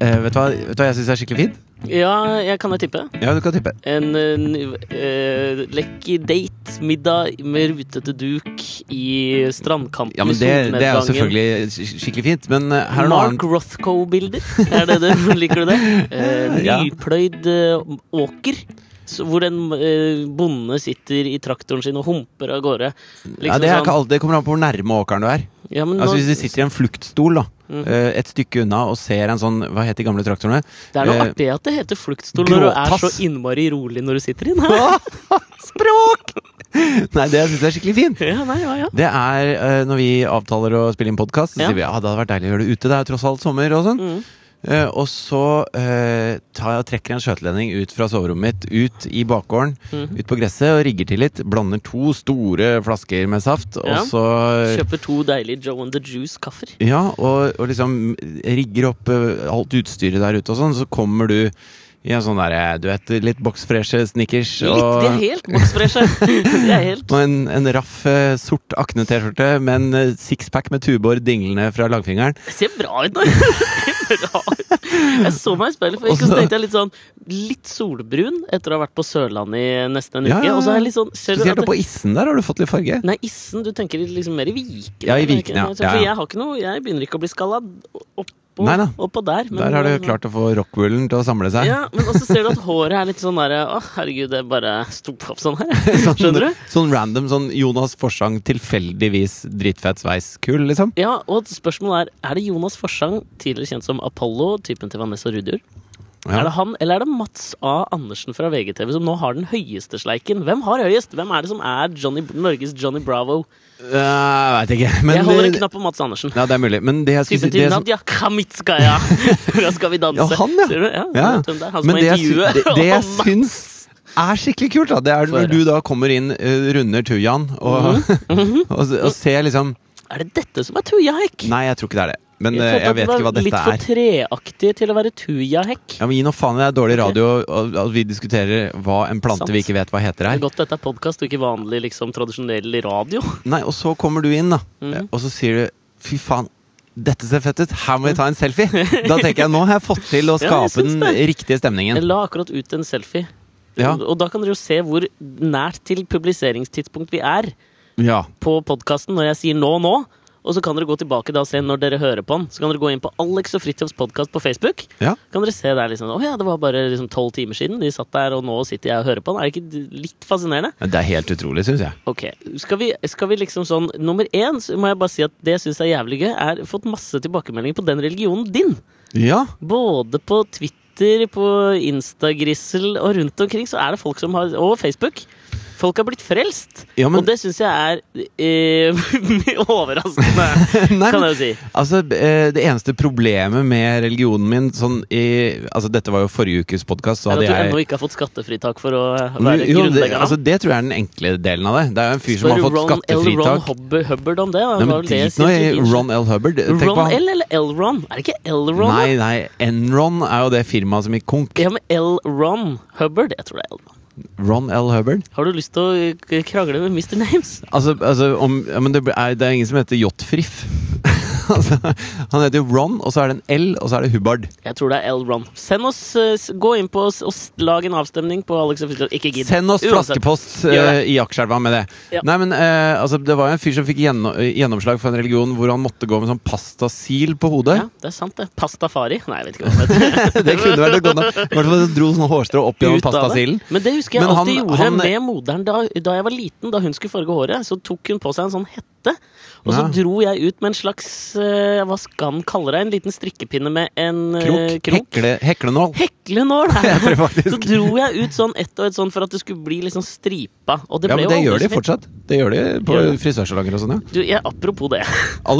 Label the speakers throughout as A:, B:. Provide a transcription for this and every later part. A: Eh, vet, du hva, vet du hva jeg syns er skikkelig fint?
B: Ja, jeg kan jo tippe.
A: Ja, du kan tippe.
B: En, en eh, lekker date, middag med rutete duk i strandkanten
A: Ja, men
B: i
A: det, det er jo
B: solnedgangen.
A: selvfølgelig sk- skikkelig fint, men eh, her er noe
B: Mark
A: annet.
B: Rothko-bilder, er det det? Liker du det? Eh,
A: Ja.
B: nypløyd eh, åker. Så hvor en eh, bonde sitter i traktoren sin og humper av gårde.
A: Ja, det, er ikke alt, det kommer an på hvor nærme åkeren du er.
B: sånn- ja, men
A: Altså
B: nå-
A: Hvis du sitter i en fluktstol da
B: Mm.
A: eh, et stykke unna og ser en sånn Hva het de gamle traktorene?
B: Det er noe
A: eh,
B: artig at det heter fluktstol når du er så
A: gråtass.
B: innmari rolig når du sitter i den. Ja,
A: Språk! Nei, det syns jeg er skikkelig fint.
B: nei, ja, ja.
A: Det er eh, når vi avtaler å spille inn podkast, så
B: Ja.
A: sier vi ja, det hadde vært deilig å gjøre det ute. Det er jo tross alt sommer og sånn.
B: Mm.
A: Eh, og så eh, tar jeg og trekker en skjøtelending ut fra soverommet mitt, ut i bakgården,
B: Mhm.
A: ut på gresset og rigger til litt. Blander to store flasker med saft,
B: Ja.
A: og så
B: Kjøper to deilige Joe and the Juice-kaffer.
A: Ja, og, og liksom rigger opp eh, alt utstyret der ute og sånn, så kommer du i en sånn derre, du vet, litt boksfreshe snickers
B: Litt,
A: og
B: de er helt boksfreshe. De er helt
A: og en, en raff, eh, sort akne-T-skjorte med en eh, sixpack med tubor dinglende fra langfingeren.
B: Det ser bra ut nå! Det ser bra ut. Jeg så meg i speilet før, og så
A: Også-
B: tenkte jeg litt sånn Litt solbrun etter å ha vært på Sørlandet i nesten en uke.
A: Ja, ja, ja.
B: Og så er jeg litt sånn ser du at
A: Spesielt
B: det-
A: oppå issen der har du fått litt farge.
B: Nei, issen, du tenker liksom mer i Viken.
A: Ja, i
B: eller
A: Viken, ja.
B: ikke?
A: Ja,
B: For
A: ja.
B: jeg har ikke noe Jeg begynner ikke å bli skalla oppå,
A: Nei da.
B: oppå der. men- sånn-
A: Der har du klart å få rockwoolen til å samle seg.
B: Ja, men også ser du at håret er litt sånn derre Å, herregud, det bare sto opp sånn her. Skjønner du?
A: Sånn random sånn Jonas Forsang tilfeldigvis drittfett sveis-kull, liksom.
B: Ja, og spørsmålet er Er det Jonas Forsang, tidligere kjent som Apollo, typen til Vanessa Rudjord?
A: Ja.
B: Er det han, eller er det Mats A. Andersen fra VGTV som nå har den høyeste sleiken? Hvem har høyest? Hvem er det som er Johnny, Norges Johnny Bravo?
A: Eh, Veit ikke. Men
B: jeg holder en
A: eh,
B: knapp på Mats Andersen.
A: ja, det er mulig. Men det jeg skulle
B: Typen
A: si det
B: til
A: som,
B: Nadia Kamitskaya fra Skal vi danse.
A: Ja, han, ja.
B: Ser du? Ja, du
A: Ja.
B: vet hvem det er. Han som
A: Men
B: har
A: det jeg, sy-
B: intervjuet.
A: det, det jeg
B: Og Mats-
A: syns er skikkelig kult, da, det er
B: Få
A: når
B: høre. Mhm.
A: du da kommer inn, eh, runder Tujan, og, og, s- og ser liksom
B: Er det dette som er tujahekk?
A: Nei, jeg tror ikke det er det. Men eh,
B: følte
A: jeg
B: at det
A: vet ikke hva
B: var
A: dette
B: Litt
A: er.
B: for treaktig til å være tujahekk.
A: Ja, men Gi nå faen i det er dårlig radio og- at vi diskuterer hva en plante vi
B: Sant.
A: ikke vet hva heter
B: Det
A: her.
B: er godt dette er podkast og ikke vanlig liksom, tradisjonell radio.
A: Nei, Og så kommer du inn, da.
B: Mhm.
A: Og så sier du fy faen, dette ser fett ut, her må vi ta en selfie! Da tenker jeg nå har jeg fått til å
B: Ja, jeg
A: skape den
B: syns det.
A: riktige
B: Jeg
A: stemningen.
B: la akkurat ut en selfie.
A: Ja.
B: Og da kan dere jo se hvor nært til publiseringstidspunkt vi er
A: Ja.
B: på podkasten når jeg sier nå, nå. Og så kan dere gå tilbake da og se når dere hører på den. Så kan dere gå inn på Alex og Fridtjofs podkast på Facebook.
A: Ja.
B: Kan dere se der liksom Å ja, det var bare liksom tolv timer siden. De satt der, og nå sitter jeg og hører på den. Er det ikke litt fascinerende?
A: Det er helt utrolig, syns jeg.
B: Ok, skal vi, skal vi liksom sånn Nummer én så må jeg bare si at det jeg syns er jævlig gøy, er fått masse tilbakemeldinger på den religionen din.
A: Ja.
B: Både på Twitter, på Instagrissel og rundt omkring så er det folk som har Og Facebook. Folk har blitt frelst.
A: Ja, men-
B: og det syns jeg er eh, overraskende,
A: Nei,
B: kan
A: men
B: jeg jo si.
A: Altså, eh, Det eneste problemet med religionen min sånn i, altså Dette var jo forrige ukes podkast.
B: Er
A: hadde
B: at du
A: jeg
B: ennå ikke har fått skattefritak for å være
A: jo, det,
B: grunnlegger. av.
A: altså, det tror jeg er den enkle delen av det. Det er jo en fyr som
B: Spør
A: har fått
B: Ron L. Ron
A: skattefritak.
B: Hubber- Hubbard om det. Da.
A: Nei,
B: Hva
A: men
B: var det jeg
A: Drit nå i
B: sier til
A: Ron L. Hubbard. Tenk på
B: Ron
A: han.
B: L eller Elron? Er det ikke Elron? da?
A: Nei, nei, Enron er jo det firmaet som gikk konk.
B: Ja, men L. Ron Hubbard. Jeg tror det er L. Ron.
A: Ron L. Hubbard.
B: Har du lyst til å eh, krangle med Mr. Names?
A: Altså, altså om, ja, men det, er, det er ingen som heter Jotfriff. altså, han heter jo Ron, og så er det en L, og så er det Hubbard.
B: Jeg tror det er L. Ron. Send oss, eh, s- Gå inn på oss og s- lag en avstemning på Alex og Fridtjof. Ikke gidd.
A: Send oss
B: Uansett.
A: flaskepost
B: Gjør det.
A: eh, i Akerselva med det.
B: Ja.
A: Nei, men eh, altså, Det var jo en fyr som fikk gjenno eh, gjennomslag for en religion hvor han måtte gå med sånn pastasil på hodet.
B: Ja, det er sant, det. Pastafari. Nei, jeg vet ikke hva det heter.
A: det kunne vært noe godt. nok. I hvert fall dro sånn hårstrå opp gjennom
B: Ut av det.
A: pastasilen.
B: Men det husker jeg
A: Men
B: alltid
A: han-
B: gjorde
A: han-
B: med moderen da, da jeg var liten. Da hun skulle farge håret, så tok hun på seg en sånn hette. Og så
A: Ja.
B: dro jeg ut med en slags eh, Hva skal han kalle det? En liten strikkepinne med en eh,
A: Krok.
B: krok.
A: Hekle, heklenål.
B: Heklenål!
A: Jeg tror
B: Så
A: faktisk.
B: dro jeg ut sånn ett og ett sånn for at det skulle bli liksom stripa. Og det
A: Ja, men
B: ble jo
A: det
B: aldri
A: gjør de
B: så fint.
A: fortsatt. Det gjør de på
B: Gjør de.
A: frisørsalonger og sånn, ja.
B: Du, jeg, apropos det.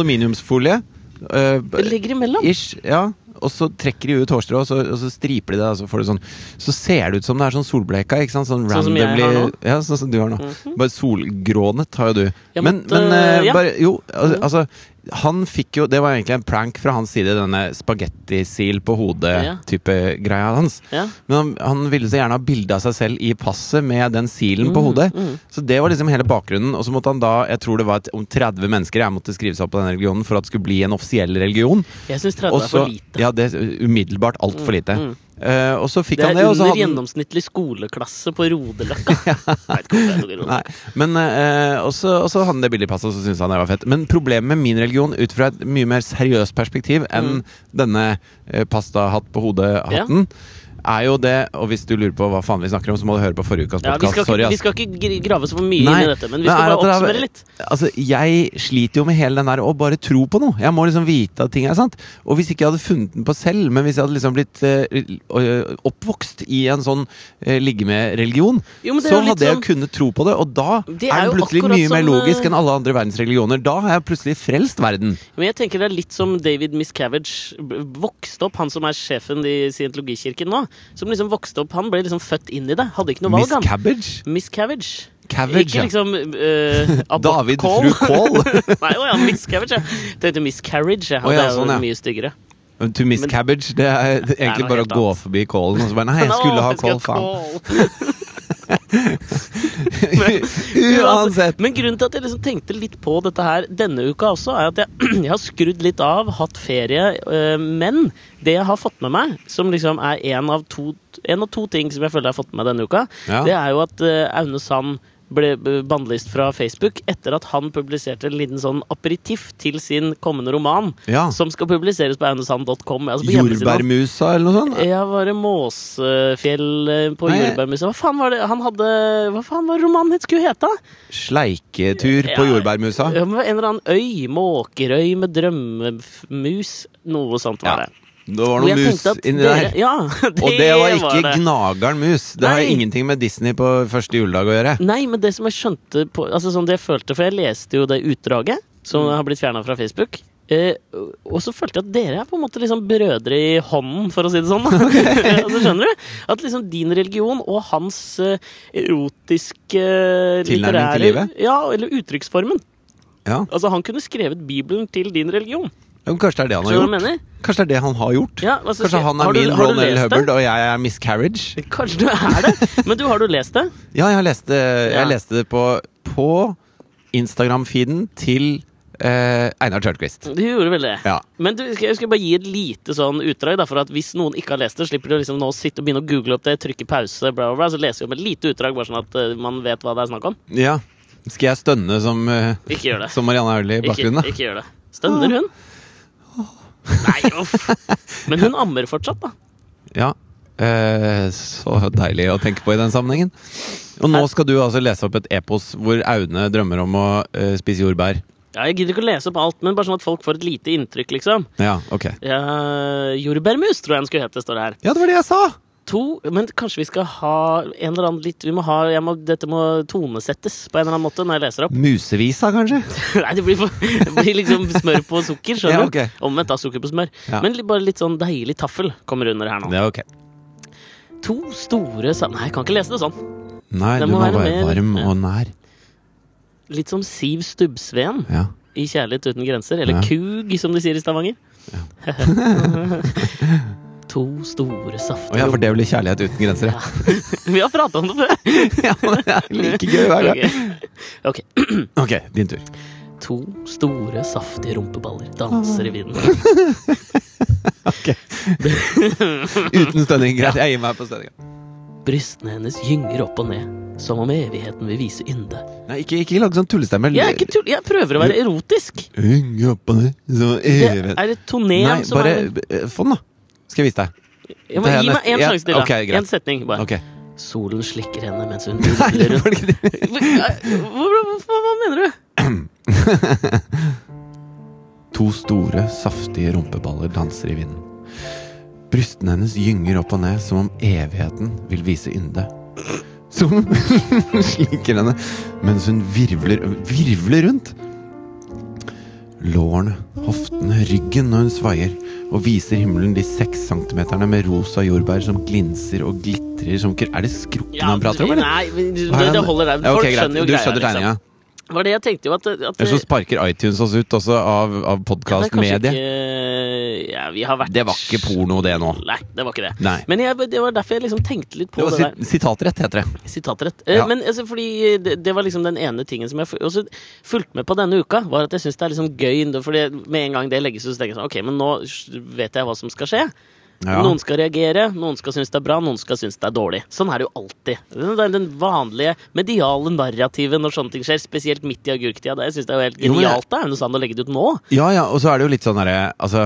A: Aluminiumsfolie. eh, b-
B: Det ligger imellom.
A: ish, ja. Og så trekker de ut hårstrå, og så, og så striper de det. Og så, får du sånn, så ser det ut som det er sånn solbleika. Ikke sant? Sånn,
B: Sånn som jeg
A: randomly-
B: har nå? Mhm.
A: Ja, sånn som du har nå. Bare solgrånet har jo du.
B: Jeg
A: men
B: måtte-
A: men eh,
B: ja. Mhm.
A: bare Jo, al- altså han fikk jo Det var egentlig en prank fra hans side, denne spagettisil på
B: Ja.
A: hodet-type greia hans.
B: Ja.
A: Men han, han ville så gjerne ha bilde av seg selv i passet med den silen
B: Mhm,
A: på hodet. Så det var liksom hele bakgrunnen. Og så måtte han da, jeg tror det var et, om 30 mennesker jeg måtte skrive seg opp på den religionen for at det skulle bli en offisiell religion.
B: Jeg syns 30
A: Og
B: er
A: så-
B: for lite.
A: Ja, det er umiddelbart altfor lite.
B: Mm.
A: Eh, og så fikk
B: Det
A: han
B: er
A: det, og så
B: under
A: hadde han
B: gjennomsnittlig skoleklasse på Rodeløkka. Jeg vet ikke hvorfor jeg tok Rodeløkka.
A: Nei, men eh, og så og så hadde han det bildet i passet, og så syntes han det var fett. Men problemet med min religion, ut fra et mye mer seriøst perspektiv
B: Mm.
A: enn denne eh, pastahatt på hodet-hatten, er jo det Og hvis du lurer på hva faen vi snakker om, så må du høre på forrige ukas
B: Ja, vi,
A: podcast
B: skal ikke,
A: Sorry,
B: vi
A: ass.
B: skal ikke gr- grave så for mye
A: Nei,
B: inn i dette, men vi
A: men er
B: skal bare
A: at det er-
B: oppsummere litt.
A: Altså, jeg sliter jo med hele den der å bare tro på noe. Jeg må liksom vite at ting er sant. Og hvis ikke jeg hadde funnet den på selv, men hvis jeg hadde liksom blitt eh, oppvokst i en sånn eh, ligge med-religion,
B: Jo, men det er
A: så
B: jo litt
A: hadde jeg
B: sånn-
A: kunnet tro på det. Og da er
B: Det er
A: det
B: jo
A: plutselig
B: akkurat
A: mye mer
B: som,
A: logisk
B: eh,
A: enn alle andre verdensreligioner. Da har jeg plutselig frelst verden.
B: Men jeg tenker det er litt som David Miscavige b- vokste opp, han som er sjefen i scientologikirken nå. Som liksom vokste opp, Han ble liksom født inn i det. Hadde ikke noe
A: Miss
B: valg, han.
A: Cabbage?
B: Miscavige.
A: Cabbage,
B: Ikke
A: ja.
B: liksom uh,
A: David fru Kål.
B: Nei, å ja, miscarriage. Jeg tenkte miscarriage. Ja.
A: Å ja,
B: det er jo
A: sånn, ja.
B: mye styggere.
A: To Miss
B: Men-
A: Cabbage, det er egentlig
B: noe
A: bare å
B: helt
A: gå
B: annet.
A: forbi kålen og så bare Nei, jeg
B: Nå,
A: skulle ha
B: jeg
A: kål,
B: skal
A: faen.
B: ha kål.
A: Uansett.
B: Men grunnen til at jeg liksom tenkte litt på dette her denne uka også, er at jeg, jeg har skrudd litt av, hatt ferie, øh, men det jeg har fått med meg, som liksom er en av to, en av to ting som jeg føler jeg har fått med meg denne uka,
A: Ja.
B: det er jo at øh, Aune Sand ble øh, bannlyst fra Facebook etter at han publiserte en liten sånn aperitiff til sin kommende roman,
A: Ja.
B: som skal publiseres på aunesand.com. Altså på hjemmesiden hans. Eh,
A: Jordbærmusa eller noe sånt?
B: Ja, var det Måsefjell eh, på
A: Nei.
B: Jordbærmuseet? Hva faen var det han hadde Hva faen var romanen hans skulle hete? da?
A: Sleiketur på
B: Ja.
A: jordbærmusa?
B: Ja, men En eller annen øy. Måkerøy med drømmemus. Noe sånt var
A: Ja,
B: det.
A: Det var
B: Hvor jeg
A: noe mus
B: tenkte at
A: inni
B: dere-
A: der.
B: Ja, det,
A: Og det var ikke
B: det.
A: Gnageren mus. Det har
B: Nei. Mm.
A: ingenting med Disney på første juledag å gjøre.
B: Nei, men det som jeg skjønte på, altså sånn det jeg følte, For jeg leste jo det utdraget som
A: Mm.
B: har blitt fjerna fra Facebook. Eh, og så følte jeg at dere er på en måte liksom brødre i hånden, for å si det sånn. da. altså, skjønner du? At liksom din religion og hans eh, erotiske eh,
A: Tilnærming til livet?
B: Ja, eller uttrykksformen.
A: Ja.
B: Altså, han kunne skrevet Bibelen til din religion.
A: Men Kanskje det er det han har
B: Skjønner du hva
A: gjort?
B: jeg mener?
A: Kanskje det er det han har gjort?
B: Ja, altså,
A: Kanskje han
B: har
A: er
B: du-
A: min
B: har du
A: Ron L.
B: lest det?
A: Hubbard, og jeg er Miss Carriage?
B: Kanskje du er det, men du har du lest det?
A: Ja, jeg leste,
B: Ja.
A: jeg leste det på, på Instagram-feeden til eh, Einar Tørnquist.
B: Du gjorde vel det?
A: Ja.
B: Men du, skal, jeg skal bare gi et lite sånn utdrag, da, for at hvis noen ikke har lest det, slipper du liksom nå å sitte og begynne å google opp det, trykke pause, bla, bla, bla, så leser vi om et lite utdrag, bare sånn at eh, man vet hva det er snakk om.
A: ja. Skal jeg stønne som, eh,
B: Ikke gjør det.
A: som Marianne Aulie i
B: Ikke,
A: bakgrunnen? da?
B: ikke gjør det. Stønner hun? Nei, uff. Men hun ammer fortsatt, da.
A: Ja. Eh, så deilig å tenke på i den sammenhengen. Og nå skal du altså lese opp et epos hvor Aune drømmer om å eh, spise jordbær.
B: Ja, jeg gidder ikke å lese opp alt, men bare sånn at folk får et lite inntrykk, liksom.
A: Ja, ok.
B: Ja, jordbærmus, tror jeg den skulle hete, står det her.
A: Ja, det var det jeg sa!
B: To, men kanskje vi skal ha en eller annen litt Vi må ha jeg må, Dette må tonesettes på en eller annen måte når jeg leser opp.
A: Musevisa, kanskje?
B: Nei, det blir, for, det blir liksom smør på sukker. skjønner
A: Ja,
B: du?
A: ok.
B: Omvendt av sukker på smør.
A: Ja.
B: Men li- bare litt sånn deilig taffel kommer under her nå.
A: Det er ok.
B: To store sa- Nei, jeg kan ikke lese det sånn.
A: Nei,
B: Det
A: du
B: må
A: må
B: være
A: være
B: mer-
A: varm
B: ja.
A: og nær.
B: Litt som Siv Stubbsveen
A: Ja.
B: i 'Kjærlighet uten grenser'. Eller
A: Ja.
B: Kug, som de sier i Stavanger. to store
A: Å ja,
B: saftrom
A: for det blir kjærlighet uten grenser. Ja.
B: Vi har prata om det før!
A: ja, men det er like gøy hver gang.
B: Ok.
A: Ok, din tur.
B: To store, saftige rumpeballer danser i vinden.
A: Uten stønning. Greit, jeg gir meg på stønninga.
B: Brystene hennes gynger opp og ned, som om evigheten vil vise ynde.
A: Nei, ikke, ikke lag sånn tullestemme.
B: Jeg, er ikke tull, jeg prøver å være erotisk!
A: Henge opp og ned som
B: Det
A: evig
B: er et tonem
A: Nei,
B: som
A: bare
B: er
A: eh, få den, da. Skal jeg vise deg.
B: ja,
A: det
B: men,
A: er
B: Gi meg
A: nesten-
B: en
A: ja,
B: sjanse til, da.
A: ok, greit.
B: en setning, bare.
A: Ok.
B: Solen slikker henne mens hun
A: Nei,
B: ruller rundt.
A: var det ikke det?
B: Hva, hva, hva mener du?
A: To store, saftige rumpeballer danser i vinden. Brystene hennes gynger opp og ned som om evigheten vil vise ynde. Som slikker henne mens hun virvler, virvler rundt. Lårene, hoftene, ryggen når hun svaier, og viser himmelen de seks centimeterne med rosa jordbær som glinser og glitrer som kr- Er det skrukken han prater om, eller?
B: Nei, men
A: Hva er
B: det, det
A: han-
B: holder der.
A: Ja,
B: Folk
A: ok, greit.
B: skjønner jo
A: Du
B: greia.
A: skjønner
B: liksom.
A: tegninga?
B: var det jeg tenkte jo at, at
A: Eller så sparker iTunes oss ut også av, av
B: medie
A: podkastmediet.
B: Ja, vi har vært
A: Det var ikke porno, det nå.
B: Nei, det var ikke det.
A: Nei.
B: Men jeg, det var derfor jeg liksom tenkte litt på
A: Det
B: det,
A: var
B: der.
A: sit sitatrett, heter det.
B: Sitatrett. Eh,
A: Ja.
B: Men altså, fordi det, det var liksom den ene tingen som jeg fu- også fulgte med på denne uka, var at jeg syns det er liksom gøy nå, Fordi med en gang det legges ut, så tenker jeg sånn Ok, men nå sj- vet jeg hva som skal skje.
A: Ja.
B: Noen skal reagere, noen skal synes det er bra, noen skal synes det er dårlig. Sånn er det jo alltid. Den, den, den vanlige mediale narrativet når sånne ting skjer, spesielt midt i agurktida. Det- Jeg synes det er jo helt
A: Jo, men jeg-
B: genialt. Det er jo noe sånt å legge det ut nå.
A: Ja, ja, og så er det jo litt sånn derre Altså,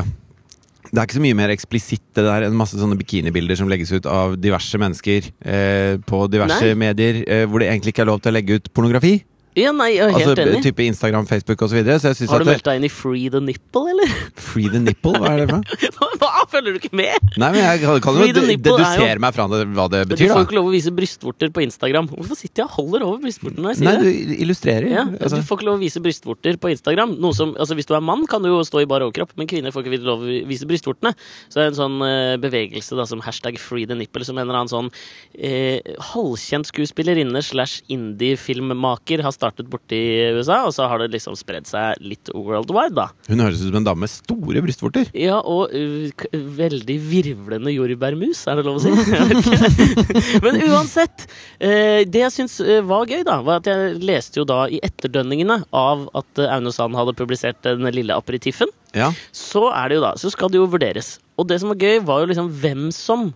A: det er ikke så mye mer eksplisitt det der enn masse sånne bikinibilder som legges ut av diverse mennesker eh, på diverse
B: Nei.
A: medier eh, hvor det egentlig ikke er lov til å legge ut pornografi.
B: Ja, nei, jeg er helt
A: Altså
B: enig.
A: type Instagram, Facebook osv. Så, videre, så jeg synes
B: Har
A: at
B: du
A: det,
B: meldt deg inn i Free the Nipple, eller?
A: Free the nipple, hva er det for noe?
B: Hva? Følger du ikke med?
A: Nei, men jeg kan- kan
B: Free
A: jo
B: the
A: de-
B: nipple er
A: dedusere meg fra det, hva det
B: Men Du
A: betyr,
B: får jo
A: da.
B: ikke lov å vise brystvorter på Instagram. Hvorfor sitter jeg og holder over brystvorten når jeg sier
A: Nei,
B: det?
A: du illustrerer.
B: Ja,
A: altså.
B: Du får ikke lov å vise brystvorter på Instagram. Noe som, altså Hvis du er mann, kan du jo stå i bar overkropp, men kvinner får ikke lov å vise brystvortene. Så det er en sånn eh, bevegelse da som hashtag free the nipple, som en eller annen sånn eh, halvkjent skuespillerinne slash indie-filmmaker har startet borti USA, og så har det liksom spredd seg litt worldwide, da.
A: Hun høres ut som en dame med store brystvorter.
B: Ja, og uh, k- veldig virvlende jordbærmus, er det lov å si? Jeg vet ikke. Men uansett. eh, det jeg syns eh, var gøy, da, var at jeg leste jo da i etterdønningene av at eh, Aune Sand hadde publisert den lille aperitiffen.
A: Ja.
B: Så er det jo da, så skal det jo vurderes. Og det som var gøy, var jo liksom hvem som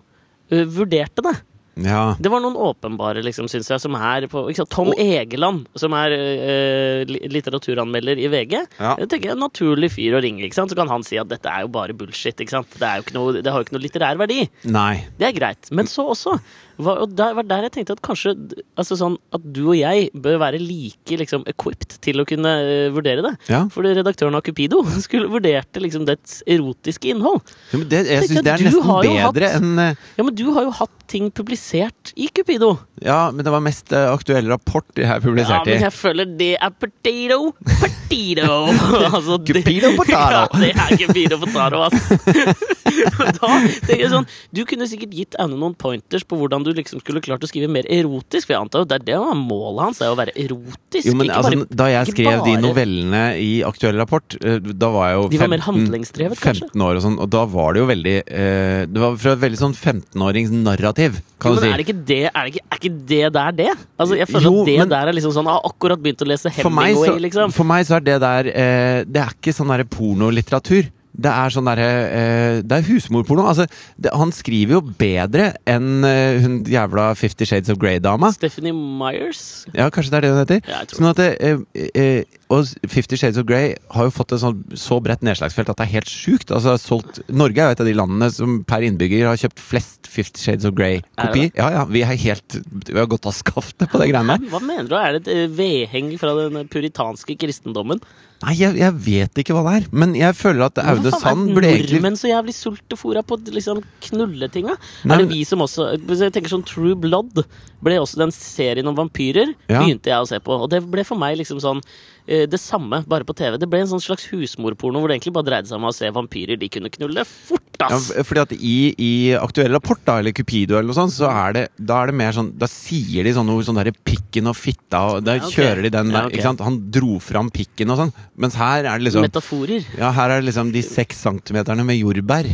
B: eh, vurderte det.
A: ja.
B: Det var noen åpenbare, liksom, syns jeg, som er på ikke sant? Tom Egeland, som er eh, li- litteraturanmelder i VG.
A: Ja.
B: Det tenker jeg er en naturlig fyr å ringe, ikke sant? så kan han si at dette er jo bare bullshit. Ikke sant? Det, er jo ikke noe, det har jo ikke noe litterær verdi.
A: Nei.
B: Det er greit. Men så også var, og der, var der jeg tenkte at kanskje d- altså sånn, at du og jeg bør være like liksom, equipped til å kunne eh, vurdere det.
A: Ja.
B: Fordi redaktøren av Cupido skulle vurderte liksom dets erotiske innhold.
A: Ja, men det, jeg
B: Tenk
A: syns
B: at
A: det er
B: du
A: nesten
B: har jo hatt-
A: bedre enn eh,
B: Ja, men du har jo hatt ting publisert i Cupido.
A: Ja, men det var mest eh, aktuell rapport jeg
B: Ja,
A: publiserte.
B: men
A: i.
B: jeg føler det er potato, potato. altså, det-
A: Cupido potato.
B: ja, det er cupido potato, ass. da tenker jeg sånn, Du kunne sikkert gitt Aune noen pointers på hvordan du liksom skulle klart å skrive mer erotisk. For jeg antar jo det er det som er målet hans, det er å være erotisk.
A: Jo, men
B: ikke
A: altså,
B: bare,
A: Da jeg
B: ikke
A: skrev de
B: bare-
A: novellene i Aktuell rapport, eh, da var jeg jo
B: De var mer handlingsdrevet, kanskje?
A: 15 år og sånn, og da var det jo veldig eh, Det var fra et veldig sånn 15-åringsnarrativ,
B: jo,
A: kan
B: men
A: du si.
B: er, det ikke det, er, det ikke, er ikke det der det? Altså, jeg føler
A: Jo,
B: at det
A: men-
B: der er liksom sånn Jeg har akkurat begynt å lese
A: for, meg
B: Hemingway,
A: så,
B: liksom.
A: for meg så er det der eh, Det er ikke sånn derre pornolitteratur. Det er sånn derre eh, Det er husmorporno. Altså, det, han skriver jo bedre enn eh, hun jævla Fifty Shades of Grey-dama.
B: Stephanie Myers.
A: Ja, kanskje det er det hun heter?
B: Ja, jeg tror
A: Sånn at det, eh, eh, Og Fifty Shades of Grey har jo fått et sånn, så bredt nedslagsfelt at det er helt sjukt. Altså, det er solgt, Norge er jo et av de landene som per innbygger har kjøpt flest Fifty Shades of Grey-kopi. Ja, ja, vi, er helt, vi har gått av skaftet på det greiene der.
B: Hva mener du? Er det et eh, vedheng fra den puritanske kristendommen?
A: Nei, jeg, jeg vet ikke hva det er, men jeg føler at Aune
B: Hvorfor faen
A: Sand
B: er
A: burde egentlig
B: Nordmenn så jævlig sultefora på liksom knulletinga.
A: Nei,
B: Er det
A: men-
B: vi som også Hvis Jeg tenker sånn True Blood ble også den serien om vampyrer.
A: Ja.
B: Begynte jeg å se på. Og det ble for meg liksom sånn eh, det samme, bare på TV. Det ble en sånn slags husmorporno hvor det egentlig bare dreide seg om å se vampyrer de kunne knulle fort,
A: ja,
B: ass!
A: f- fordi at i, i aktuell rapport, da, eller Cupido, eller noe sånt, så er det, da er det mer sånn Da sier de sånne ord sånn derre 'pikken og fitta', og da
B: Ja, ok.
A: kjører de den der,
B: Ja, ok.
A: ikke sant? Han dro fram pikken og sånn, mens her er det liksom
B: Metaforer.
A: Ja, her er det liksom de seks centimeterne med jordbær.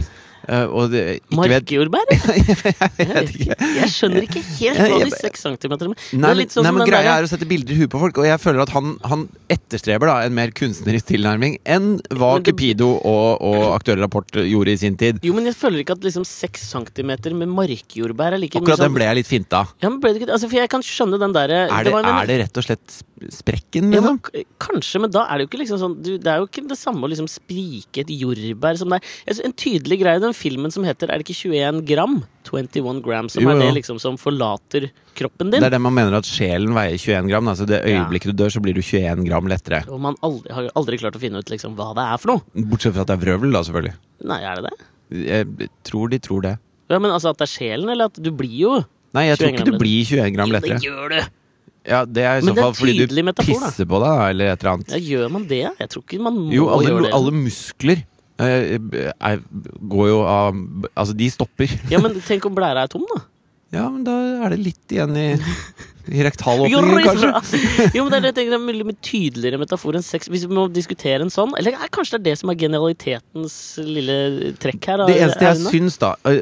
A: eh, og det, ikke vet
B: Markjordbær? jeg, vet ikke. jeg skjønner ikke helt hva
A: Jeg-
B: de seks centimeterne med
A: Nei,
B: Det er
A: men,
B: litt sånn
A: nei,
B: som
A: men
B: den
A: greia
B: derre-
A: er å sette bilder i huet på folk, og jeg føler at han, han etterstreber da en mer kunstnerisk tilnærming enn hva
B: Men det-
A: Cupido og, og Aktuell Rapport gjorde i sin tid.
B: Jo, men jeg føler ikke at liksom seks centimeter med markjordbær er like
A: Akkurat
B: mye
A: den
B: sånn
A: ble jeg litt finta.
B: Ja, men ble det ikke Altså, for jeg kan skjønne den derre
A: Er det, er det rett og slett sp- sprekken,
B: ja,
A: liksom?
B: men, k- kanskje, men da er det jo ikke liksom sånn du, Det er jo ikke det samme å liksom sprike et jordbær som det er Jeg synes En tydelig greie i den filmen som heter Er det ikke 21 gram? 21 gram, som
A: Jo,
B: er det
A: jo.
B: liksom som forlater kroppen din.
A: Det er det man mener at sjelen veier 21 gram. Altså det
B: Ja.
A: øyeblikket du dør, så blir du 21 gram lettere.
B: Og man aldri, har aldri klart å finne ut liksom hva det er for noe.
A: Bortsett fra at det er vrøvl, da, selvfølgelig.
B: Nei, er det det?
A: Jeg tror de tror det.
B: Ja, men altså at det er sjelen, eller at du blir jo
A: Nei, jeg tror
B: 21
A: ikke
B: gram
A: du blir 21 gram
B: Jo,
A: lettere.
B: Det gjør du!
A: Ja, Det er i
B: Men
A: så
B: det er
A: fall fordi du
B: tydelig metafor, da.
A: pisser på deg, da, eller et eller annet.
B: Ja, gjør man det? Jeg tror ikke man må
A: Jo, alle,
B: gjøre det.
A: alle muskler eh, er, går jo av Altså, de stopper.
B: Ja, men tenk om blæra er tom, da?
A: Ja, men da er det litt igjen i I rektal
B: Jo,
A: åpning, kanskje?
B: jo, men det er det jeg tenker, det er en veldig mye tydeligere metafor enn sex. Hvis vi må diskutere en sånn Eller eh, kanskje det er det som er genialitetens lille trekk her? da,
A: Det eneste jeg
B: Aune?
A: syns, da øh,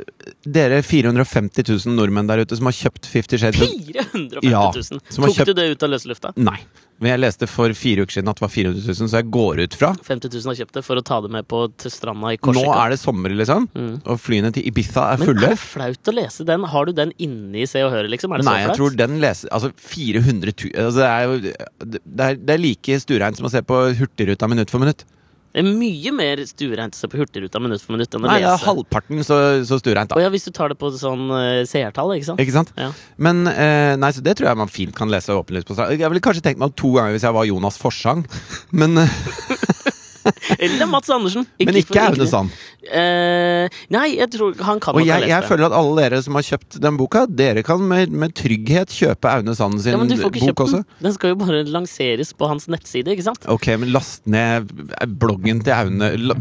A: Dere 450 000 nordmenn der ute som har kjøpt Fifty Shades of
B: 450
A: Ja,
B: 000!
A: som har
B: Tok du det ut av løse lufta?
A: Nei. Men jeg leste for fire uker siden at det var 400 000, så jeg går ut fra
B: 50 000 har kjøpt det for å ta det med på til stranda i
A: Nå
B: Korsika.
A: er det sommer, liksom,
B: Mm.
A: og flyene til Ibiza er
B: Men
A: fulle.
B: er det flaut å lese den? Har du den inni Se og Hør, liksom? Er det
A: Nei,
B: så
A: jeg tror
B: flaut?
A: den leser Altså, 400 000 altså, det, er jo, det, er, det er like stureint som å se på Hurtigruta minutt for minutt.
B: Det er mye mer stuereint å se på Hurtigruta minutt for minutt enn å
A: Nei, det
B: lese.
A: er halvparten så, så stureint,
B: Å
A: da.
B: ja, hvis du tar det på sånn eh, seertall, ikke sant?
A: Ikke sant?
B: Ja.
A: Men eh, nei, så det tror jeg man fint kan lese åpenlyst på stranda. Jeg ville kanskje tenkt meg om to ganger hvis jeg var Jonas Forsang, men, eh,
B: Eller Mats Andersen.
A: men ikke sånn. Aune
B: Sand.
A: Sand.
B: Eh, nei, jeg tror han kan
A: Og
B: nok ha
A: jeg,
B: lest
A: jeg
B: det.
A: føler at alle dere som har kjøpt den boka, dere kan med, med trygghet kjøpe Aune Sand sin
B: Ja, men du får ikke
A: bok
B: kjøpt
A: også.
B: den. Den skal jo bare lanseres på hans nettside, ikke sant?
A: Ok, men last ned bloggen til Aune la-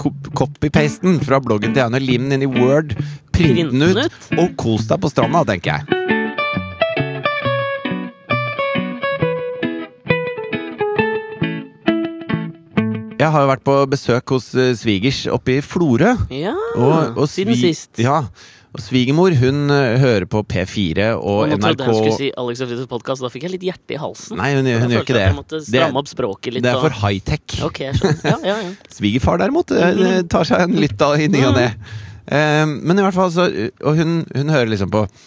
A: kop- Copy-pasten fra bloggen til Aune, lim den inn i Word, print
B: Print
A: den
B: den
A: ut, og kos deg på stranda, tenker jeg. Jeg har jo vært på besøk hos eh, svigers oppe i Florø.
B: Ja,
A: Og, og
B: Mm. siden
A: svi-
B: sist.
A: Ja, og svigermor hun eh, hører på P4 og,
B: Og nå
A: NRK
B: trodde jeg hun skulle si Alex og Frides podcast, og da fikk jeg litt hjerte i halsen.
A: Nei, hun,
B: Jeg
A: hun gjør
B: følte
A: ikke
B: at
A: det.
B: jeg måtte stramme opp språket litt.
A: det er
B: og-
A: for high-tech.
B: Ok, Mm. jeg skjønner. Ja, ja, ja.
A: Svigerfar derimot eh, det tar seg en lytt av i ny
B: Mm.
A: og ne. Eh, men i hvert fall så Og hun, hun hører liksom på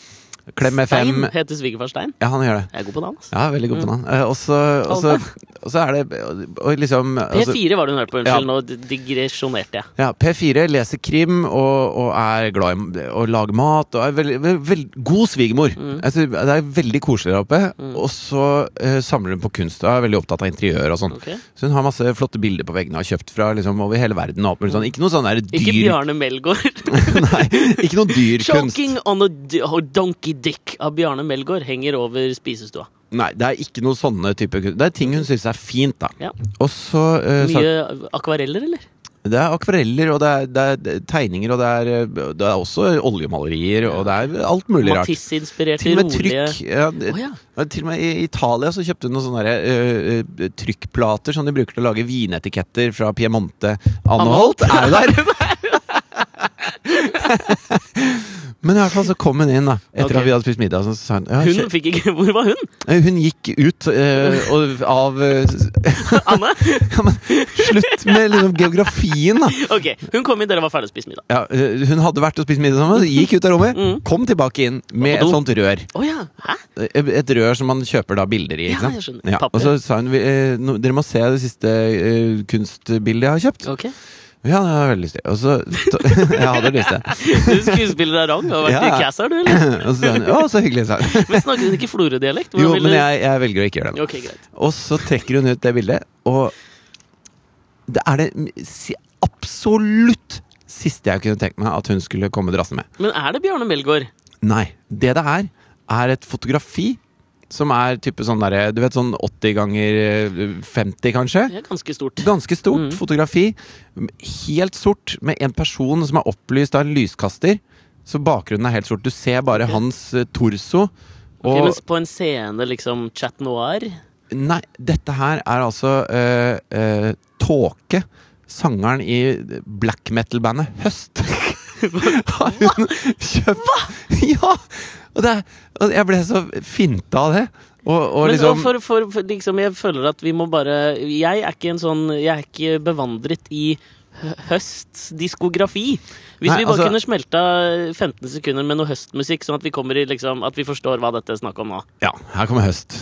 A: Klem FM
B: Stein heter svigerfar Stein.
A: Ja, han gjør det.
B: Jeg er god på navn. altså.
A: Ja, veldig god på navn. Eh, og så- og så og så er det og- Og liksom altså,
B: P4 var det hun hørte på,
A: Ja.
B: unnskyld. Nå digresjonerte jeg.
A: ja, P4 leser krim og, og er glad i å lage mat og er veldig, veld, veld, god svigermor.
B: Mm.
A: Altså, det er veldig koselig der oppe. Og så eh, samler hun på kunst og er veldig opptatt av interiør og sånn.
B: Ok.
A: Så hun har masse flotte bilder på veggene og har kjøpt fra liksom, over hele verden. Og alt mulig sånn. Ikke noe sånn der dyr
B: Mm. Ikke Bjarne Melgaard.
A: Nei, ikke noe dyr kunst.
B: Choking on a d- a donkey dick av Bjarne Melgaard henger over spisestua.
A: Nei, det er ikke noe sånne type kunst. Det er ting hun syns er fint, da.
B: Ja.
A: Og så eh, sa-
B: Mye akvareller, eller?
A: Det er akvareller, og det er, det er- det er tegninger, og det er, eh, det er også oljemalerier, og det er alt mulig rart.
B: Matisse-inspirerte,
A: Til og med
B: rolige
A: trykk. Ja, det-
B: Å, ja.
A: og Til og med i Italia så kjøpte hun noen sånne der, eh, eh, trykkplater som de bruker til å lage vinetiketter fra Piemonte. Anne Holt er jo der! Men i hvert fall så kom hun inn, da etter
B: Ok.
A: at vi hadde spist middag. Så sa hun ja,
B: Hun fikk ikke Hvor var hun?
A: Eh, Hun gikk ut eh, og, av eh,
B: Anne?
A: ja, men, Slutt med liksom, geografien, da!
B: Ok, hun kom inn, dere var ferdig å spise middag.
A: Ja, eh, hun hadde vært og spist middag sammen, gikk ut av rommet, kom tilbake inn med
B: Mm. Og
A: et
B: på
A: sånt rør.
B: Å ja! Hæ?
A: Eh, Et rør som man kjøper da bilder i.
B: Ja,
A: Ikke sant?
B: jeg skjønner. Papir.
A: og så sa hun "Vi, eh, no, Dere må se det siste eh, kunstbildet jeg har kjøpt.
B: Ok.
A: Ja, det har jeg veldig lyst til. Og så Jeg hadde lyst til det.
B: Du skuespiller av rang og har vært
A: Ja.
B: i Cassar, du, eller?
A: Og så sa hun Å, så hyggelig, sa hun.
B: Men snakker hun ikke Florø-dialekt? Hvordan
A: Jo,
B: ville-
A: men jeg, jeg velger å ikke gjøre det. nå.
B: Ok, greit.
A: Og så trekker hun ut det bildet, og det er det si- absolutt siste jeg kunne tenkt meg at hun skulle komme drassende med.
B: Men er det Bjarne Melgaard?
A: Nei. Det det er, er et fotografi som er type sånn derre Du vet sånn 80 ganger eh, 50, kanskje?
B: Det er ganske stort. Mm.
A: Ganske stort fotografi. Helt sort, med en person som er opplyst av en lyskaster. Så bakgrunnen er helt sort. Du ser bare hans eh, torso.
B: Ok,
A: Og
B: mens på en scene, liksom Chat Noir
A: Nei, dette her er altså øh, øh, Tåke. Sangeren i black metal-bandet Høst. Har hun kjøpt Ja! Og, det, er- og jeg ble så finta av det. Og, og
B: Men
A: liksom
B: og for, for, for liksom, jeg føler at vi må bare Jeg er ikke en sånn Jeg er ikke bevandret i hø- høsts diskografi. Hvis
A: Nei,
B: vi bare
A: altså-
B: kunne smelta 15 sekunder med noe høstmusikk, sånn at vi kommer i liksom At vi forstår hva dette er snakk om nå.
A: Ja, her kommer Høst.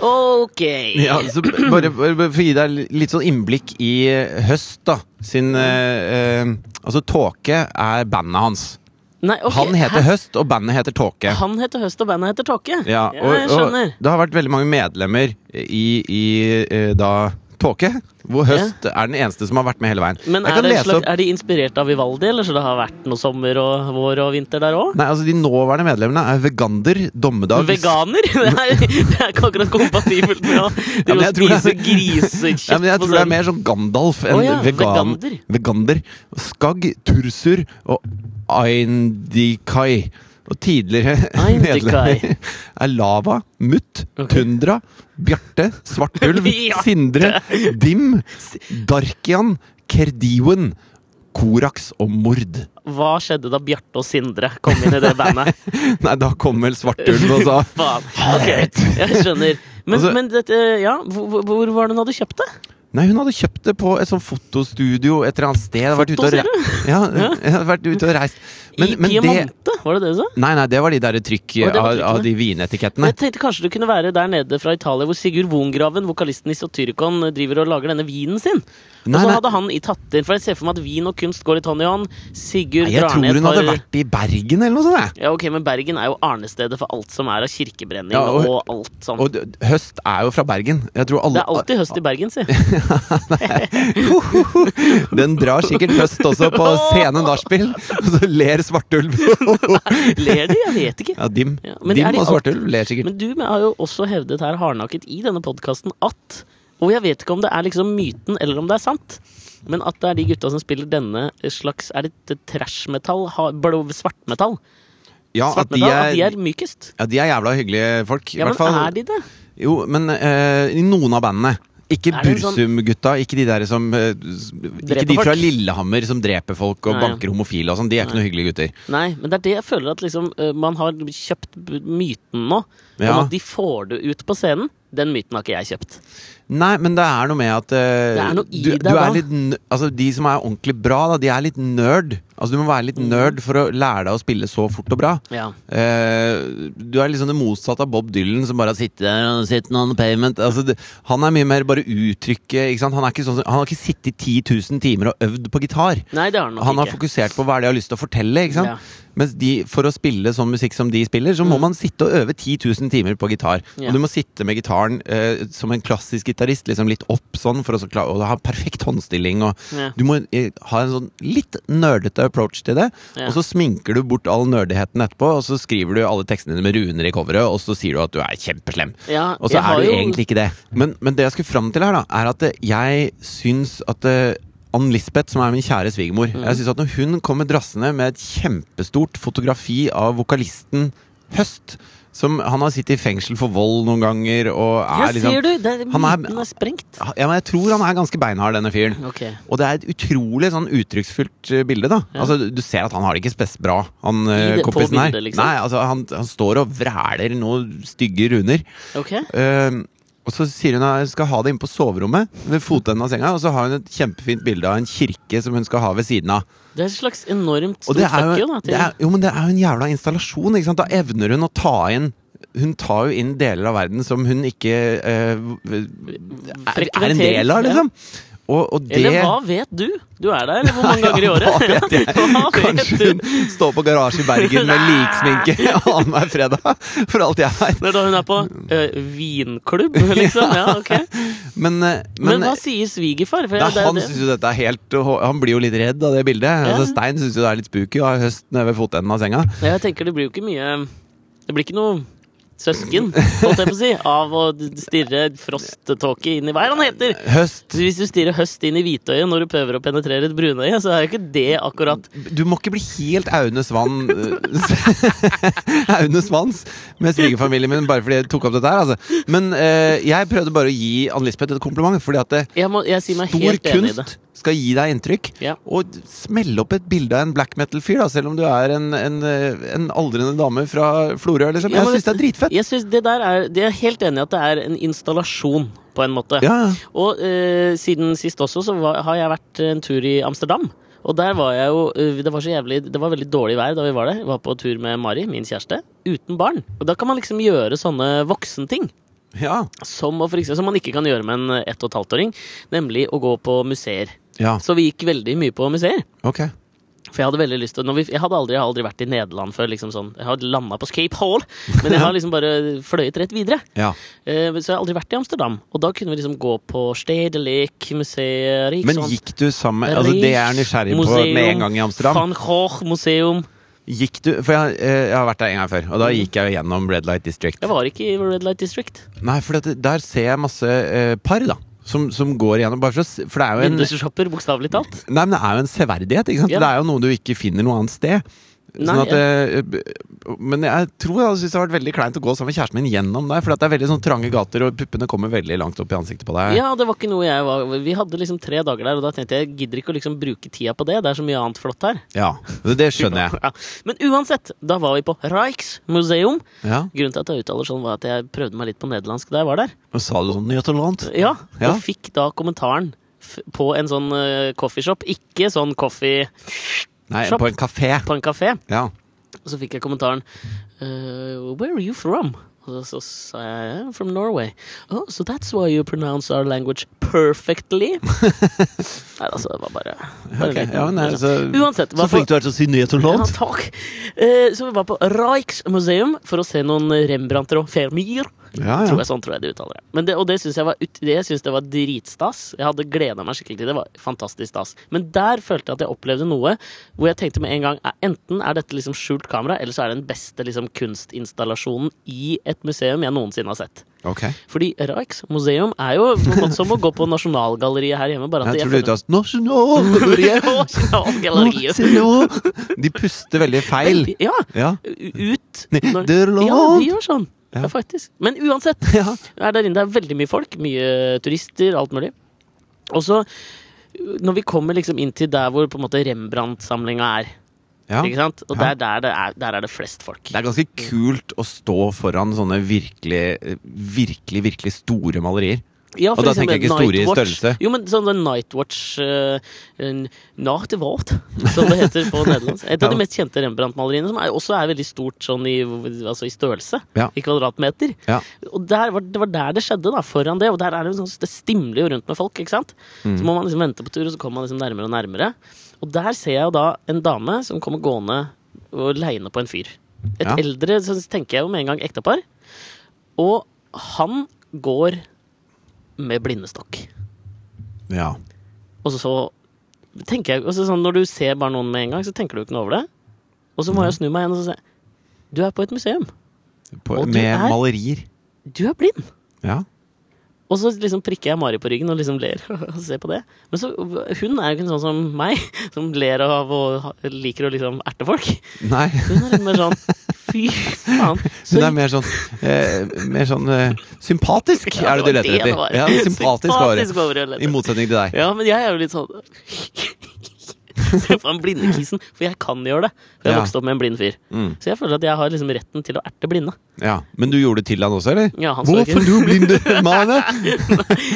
B: Ok!
A: Ja, så b- bare, bare, bare for å gi deg li- litt sånn innblikk i eh, Høst, da. Sin eh, eh, Altså, Tåke er bandet hans.
B: Nei, ok,
A: Han heter
B: hæ?
A: Høst, og bandet heter Tåke.
B: Han heter Høst, og bandet heter Tåke.
A: Ja, og,
B: jeg
A: og
B: skjønner.
A: det har vært veldig mange medlemmer i, i eh, da tåke. Hvor høst er den eneste som har vært med hele veien.
B: Men
A: Jeg
B: er,
A: kan
B: det en
A: lese
B: slags,
A: opp-
B: er de inspirert av Vivaldi, eller så det har vært noe sommer og vår og vinter der òg?
A: Nei, altså De nåværende medlemmene er vegander, dommedag
B: Veganer? Det er, det er ikke akkurat kompatibelt med å,
A: Ja, men
B: å
A: jeg tror det
B: spise
A: er-
B: grisekjøtt.
A: ja, men Jeg
B: på
A: tror det er
B: selv.
A: mer som Gandalf enn
B: Å ja,
A: vegan,
B: vegander.
A: vegander. Skagg, Tursur og Aindikai. Og tidligere
B: Aindikai.
A: medlemmer er Lava, Mutt,
B: Ok.
A: Tundra, Bjarte, Svartulv,
B: Bjarte.
A: Sindre, Dim, Darkian, Kerdiwen, Koraks og Mord.
B: Hva skjedde da Bjarte og Sindre kom inn i det bandet?
A: Nei, da kom vel Svartulv og sa
B: Faen. Ok, jeg skjønner. Men,
A: Altså-
B: men dette, ja, hvor, hvor var det hun hadde kjøpt det?
A: Nei, hun hadde kjøpt det på et sånt fotostudio et eller annet sted. Jeg hadde vært ute og
B: Foto,
A: re- Ja, jeg hadde vært ute og reist.
B: I Piemonte, var det det du sa?
A: Nei, nei, det var de der trykk
B: Å, det
A: av,
B: var trykkene.
A: av de vinetikettene.
B: Jeg tenkte kanskje du kunne være der nede fra Italia, hvor Sigurd Wongraven, vokalisten i Satyricon, driver og lager denne vinen sin.
A: Nei,
B: og så
A: nei.
B: hadde han i tatt inn, for jeg ser for meg at vin og kunst går litt hånd i hånd. Sigurd
A: Nei, jeg
B: drar
A: tror
B: ned
A: hun
B: et
A: hadde
B: par
A: vært i Bergen eller noe sånt. jeg.
B: Ja, ok, men Bergen er jo arnestedet for alt som er av kirkebrenning
A: Ja, og-
B: og, alt sånt.
A: Og d- høst er jo fra Bergen. Jeg tror alle,
B: det er alltid høst i Bergen, si. Å
A: Den drar sikkert høst også på scene nachspiel, og så ler Svartulv.
B: Ler de? Jeg vet ikke.
A: Ja, Dim
B: Ja, men er
A: Dim
B: de
A: og
B: alt-
A: Svartulv ler sikkert.
B: Men du har jo også hevdet her hardnakket i denne podkasten at Og jeg vet ikke om det er liksom myten eller om det er sant. Men at det er de gutta som spiller denne slags Er det trash-metall? ha- blå- Svartmetall?
A: Ja, at de
B: Svartmetall, at de er
A: er mykest?
B: mykest?
A: Ja, de er jævla hyggelige folk. I
B: Ja,
A: hvert
B: men
A: fall
B: er de det?
A: Jo, men eh, i noen av bandene. Ikke
B: Er det en sånn-
A: Bursum-gutta, ikke de der som eh, s- Ikke de
B: folk.
A: fra Lillehammer som dreper folk og
B: Nei, ja.
A: banker homofile og sånn. De er ikke noen hyggelige gutter.
B: Nei, men det er det jeg føler at liksom eh, man har kjøpt b- myten nå.
A: Ja.
B: Om at de får det ut på scenen. Den myten har ikke jeg kjøpt.
A: Nei, men det er noe med at eh,
B: Det er noe i
A: du,
B: deg
A: du er
B: da.
A: litt, n- altså, De som er ordentlig bra, da, de er litt nerd. Altså, du må være litt nerd for å lære deg å spille så fort og bra.
B: Mm. Ja.
A: Eh, du er liksom det motsatte av Bob Dylan, som bare har sittet der og sittet on the payment. Altså, det, han er mye mer bare uttrykket. Ikke sant? Han, er ikke sånn, som- han har ikke sittet 10 000 timer og øvd på gitar.
B: Nei, det har den nok
A: Han har
B: ikke.
A: fokusert på hva er det jeg har lyst til å fortelle. Ikke sant?
B: Ja. Mm.
A: Mens de, for å spille sånn musikk som de spiller, så må man sitte og øve 10 000 timer på gitar.
B: Ja.
A: Og du må sitte med gitaren eh, som en klassisk gitarist, liksom litt opp sånn, for å så klare, og ha perfekt håndstilling. Og
B: Ja.
A: Du må eh, ha en sånn litt nerdete approach til det,
B: Ja.
A: og så sminker du bort all nerdigheten etterpå, og så skriver du alle tekstene dine med runer i coveret, og så sier du at du er kjempeslem.
B: Ja,
A: Og så
B: jeg har
A: er du
B: jo-
A: egentlig ikke det. Men, men det jeg skulle fram til her, da, er at eh, jeg syns at eh, Ann Lisbeth, som er min kjære svigermor
B: Mm.
A: Jeg synes at Når hun kommer drassende med et kjempestort fotografi av vokalisten Høst som Han har sittet i fengsel for vold noen ganger og er
B: Ja, ser du! Det er,
A: liksom. Han er-
B: myten er sprengt.
A: Ja, men jeg tror han er ganske beinhard, denne fyren.
B: Ok.
A: Og det er et utrolig sånn uttrykksfullt eh, bilde. da
B: Ja.
A: Altså Du ser at han har det ikke spes bra, han eh,
B: det- på
A: kompisen her.
B: bildet, liksom?
A: Nei, altså han, han står og vræler noen stygge runer.
B: ok
A: Eh, og så sier hun at hun skal ha det inne på soverommet, ved fotenden av senga. Og så har hun et kjempefint bilde av en kirke som hun skal ha ved siden av.
B: Det er et slags enormt
A: Og
B: stort
A: det er
B: fuck you,
A: jo,
B: da. Til.
A: det er, jo, men det er jo en jævla installasjon. Ikke sant? Da evner hun å ta inn Hun tar jo inn deler av verden som hun ikke eh, er, er en del av, liksom. Og, og det
B: Eller hva vet du? Du er der hvor mange ganger i året?
A: Hva vet jeg?
B: Hva vet
A: Kanskje
B: du?
A: hun står på garasje i Bergen med liksminke annenhver fredag, for alt jeg veit.
B: Det er da hun er på ø, vinklubb, liksom. Ja, ok.
A: Men, eh,
B: Men,
A: men,
B: hva sier svigerfar? For
A: det
B: det,
A: er,
B: er
A: han
B: det.
A: syns jo dette er helt Han blir jo litt redd av det bildet. Altså, Stein syns jo det er litt spooky å ha høst nede ved fotenden av senga.
B: Ja, Jeg tenker det blir jo ikke mye Det blir ikke noe søsken, holdt jeg på å si, av å stirre frosttåke inn i Hva er det han heter?
A: Høst
B: Så hvis du stirrer høst inn i hvitøyet når du prøver å penetrere et brunøye, så er jo ikke det akkurat
A: Du må ikke bli helt Aune Svann eh, Aune Svanns med svigerfamilien min bare fordi jeg tok opp dette her, altså. Men eh, jeg prøvde bare å gi Ann Lisbeth et kompliment, fordi at det,
B: Jeg, må, jeg sier meg
A: stor
B: helt enig i det.
A: kunst skal gi deg inntrykk.
B: Ja.
A: Og d- smelle opp et bilde av en black metal-fyr, da, selv om du er en, en, eh, en aldrende dame fra Florø. Liksom.
B: Ja,
A: Jeg
B: men-
A: syns det er dritfett.
B: Jeg synes det der er, det er helt enig i at det er en installasjon, på en måte.
A: Ja, ja.
B: Og eh, siden sist også, så var, har jeg vært en tur i Amsterdam. Og der var jeg jo eh, Det var så jævlig Det var veldig dårlig vær da vi var der. Jeg var på tur med Mari, min kjæreste, uten barn. Og da kan man liksom gjøre sånne voksenting.
A: Ja.
B: Som, å for eksempel, som man ikke kan gjøre med en eh, ett og et halvt åring. Nemlig å gå på museer.
A: ja.
B: Så vi gikk veldig mye på museer.
A: Ok.
B: For jeg hadde veldig lyst til når vi, Jeg hadde aldri, jeg har aldri vært i Nederland før. liksom sånn Jeg har landa på Scape Hall, men jeg har liksom bare fløyet rett videre.
A: Ja.
B: Eh, så jeg har aldri vært i Amsterdam. Og da kunne vi liksom gå på Stedelijk museet
A: Men
B: Rijksmuseum,
A: gikk du sammen altså Det jeg er nysgjerrig på med en gang i Amsterdam.
B: Van Gogh museum.
A: Gikk du For jeg, eh, jeg har vært der en gang før, og da gikk jeg jo gjennom Red Light District.
B: Jeg var ikke i Red Light District.
A: Nei, for dette, der ser jeg masse eh, par, da. Som, som går igjennom. Bare for, å s- for det er jo en
B: Vindusshopper, bokstavelig talt.
A: Nei, men det er jo en severdighet, ikke sant?
B: Ja.
A: Det er jo noe du ikke finner noe annet sted. Sånn
B: Nei,
A: at, eh, b- men jeg tror jeg hadde syntes det hadde vært veldig kleint å gå sammen med kjæresten min gjennom der, for at det er veldig sånn trange gater, og puppene kommer veldig langt opp i ansiktet på deg.
B: Ja, det var ikke noe jeg var Vi hadde liksom tre dager der, og da tenkte jeg jeg gidder ikke å liksom bruke tida på det. Det er så mye annet flott her.
A: Ja, det- det skjønner jeg.
B: Ja. Men uansett, da var vi på Rijksmuseum.
A: Ja,
B: Grunnen til at jeg uttaler sånn, var at jeg prøvde meg litt på nederlandsk da jeg var der.
A: Og sa du sånn Jøteland?
B: Ja,
A: Ja.
B: Og fikk da kommentaren f på en sånn eh, coffeeshop. Ikke sånn coffee
A: Nei,
B: Shop.
A: på en kafé.
B: på en kafé.
A: Ja.
B: Og så fikk jeg kommentaren eh, Where are you from? Og så, så sa jeg "Eh, "I'm From Norway. Oh, so that's why you pronounce our language perfectly. Nei, altså, det var bare, bare
A: Ok,
B: litt-
A: ja, men, altså,
B: Uansett. hva for-
A: du er til å si
B: ja,
A: Jøteland.
B: takk. Eh, så vi var på Rijksmuseum for å se noen Rembrandter og Vermeer.
A: Ah, Ja,
B: Tror
A: ja.
B: jeg, sånn tror jeg de uttaler det. Men det og det syns jeg, var ut- det synes jeg var dritstas. Jeg hadde gleda meg skikkelig til det. det. var fantastisk stas. Men der følte jeg at jeg opplevde noe hvor jeg tenkte med en gang "Eh, enten er dette liksom skjult kamera, eller så er det den beste liksom, kunstinstallasjonen i et museum jeg noensinne har sett.
A: Ok.
B: Fordi Rijksmuseum er jo på en måte som å gå på Nasjonalgalleriet her hjemme. Bare at
A: Jeg
B: jeg,
A: tror du
B: føler-
A: uttaler Nasjonalgalleriet!
B: Nasjonalgalleriet.
A: Nasjonal- De puster veldig feil.
B: Ja,
A: Ja.
B: u- ut
A: Nei,
B: når-
A: det er lov.
B: Ja, de gjør sånn.
A: Ja.
B: Ja, faktisk. Men uansett,
A: Ja.
B: er der inne. Det er veldig mye folk, mye turister, alt mulig. Og så, når vi kommer liksom inn til der hvor på en måte Rembrandt-samlinga er,
A: ja.
B: ikke sant? og
A: Ja.
B: der, der, det er, der er det flest folk.
A: Det er ganske kult å stå foran sånne virkelig, virkelig, virkelig store malerier.
B: Ja, for
A: Og da tenker
B: eksempel
A: jeg ikke store i
B: Nightwatch.
A: størrelse.
B: Jo, men sånn den Nightwatch uh, Nachtwort, som det heter på nederlandsk. Et av
A: Ja.
B: de mest kjente Rembrandt-maleriene, som er, også er veldig stort sånn i, altså i størrelse,
A: Ja.
B: i kvadratmeter.
A: Ja.
B: Og der var, det var der det skjedde, da, foran det. Og der er det, jo sånn, det stimler jo rundt med folk, ikke sant. Så må man liksom vente på tur, og så kommer man liksom nærmere og nærmere. Og der ser jeg jo da en dame som kommer gående og leiende på en fyr. Et
A: Ja.
B: eldre, så tenker jeg jo med en gang, ektepar. Og han går med blindestokk.
A: Ja.
B: Og så, så tenker jeg og så sånn, Når du ser bare noen med en gang, så tenker du ikke noe over det. Og så må jeg snu meg igjen og så se. Du er på et museum.
A: På,
B: Og du
A: med
B: er-
A: malerier.
B: Du er blind.
A: Ja.
B: Og så liksom prikker jeg Mari på ryggen og liksom ler. og ser på det. Men så, hun er jo ikke sånn som meg, som ler av og ha- liker å liksom erte folk.
A: Nei.
B: Hun er litt mer sånn Fy faen. Så
A: Hun er mer sånn, eh, mer sånn eh, sympatisk,
B: Ja,
A: er det du leter
B: var det
A: etter.
B: var.
A: Ja, sympatisk var det.
B: Sympatisk var det jeg
A: I
B: lette.
A: motsetning til deg.
B: Ja, men jeg er jo litt sånn Se på den blindekissen, for jeg kan gjøre det. For jeg
A: Ja.
B: vokste opp med en blind fyr.
A: Mm.
B: Så jeg føler at jeg har liksom retten til å erte blinde.
A: Ja. Men du gjorde det til han også, eller?
B: Ja, han så
A: Hvorfor
B: ikke-
A: du blinde mane?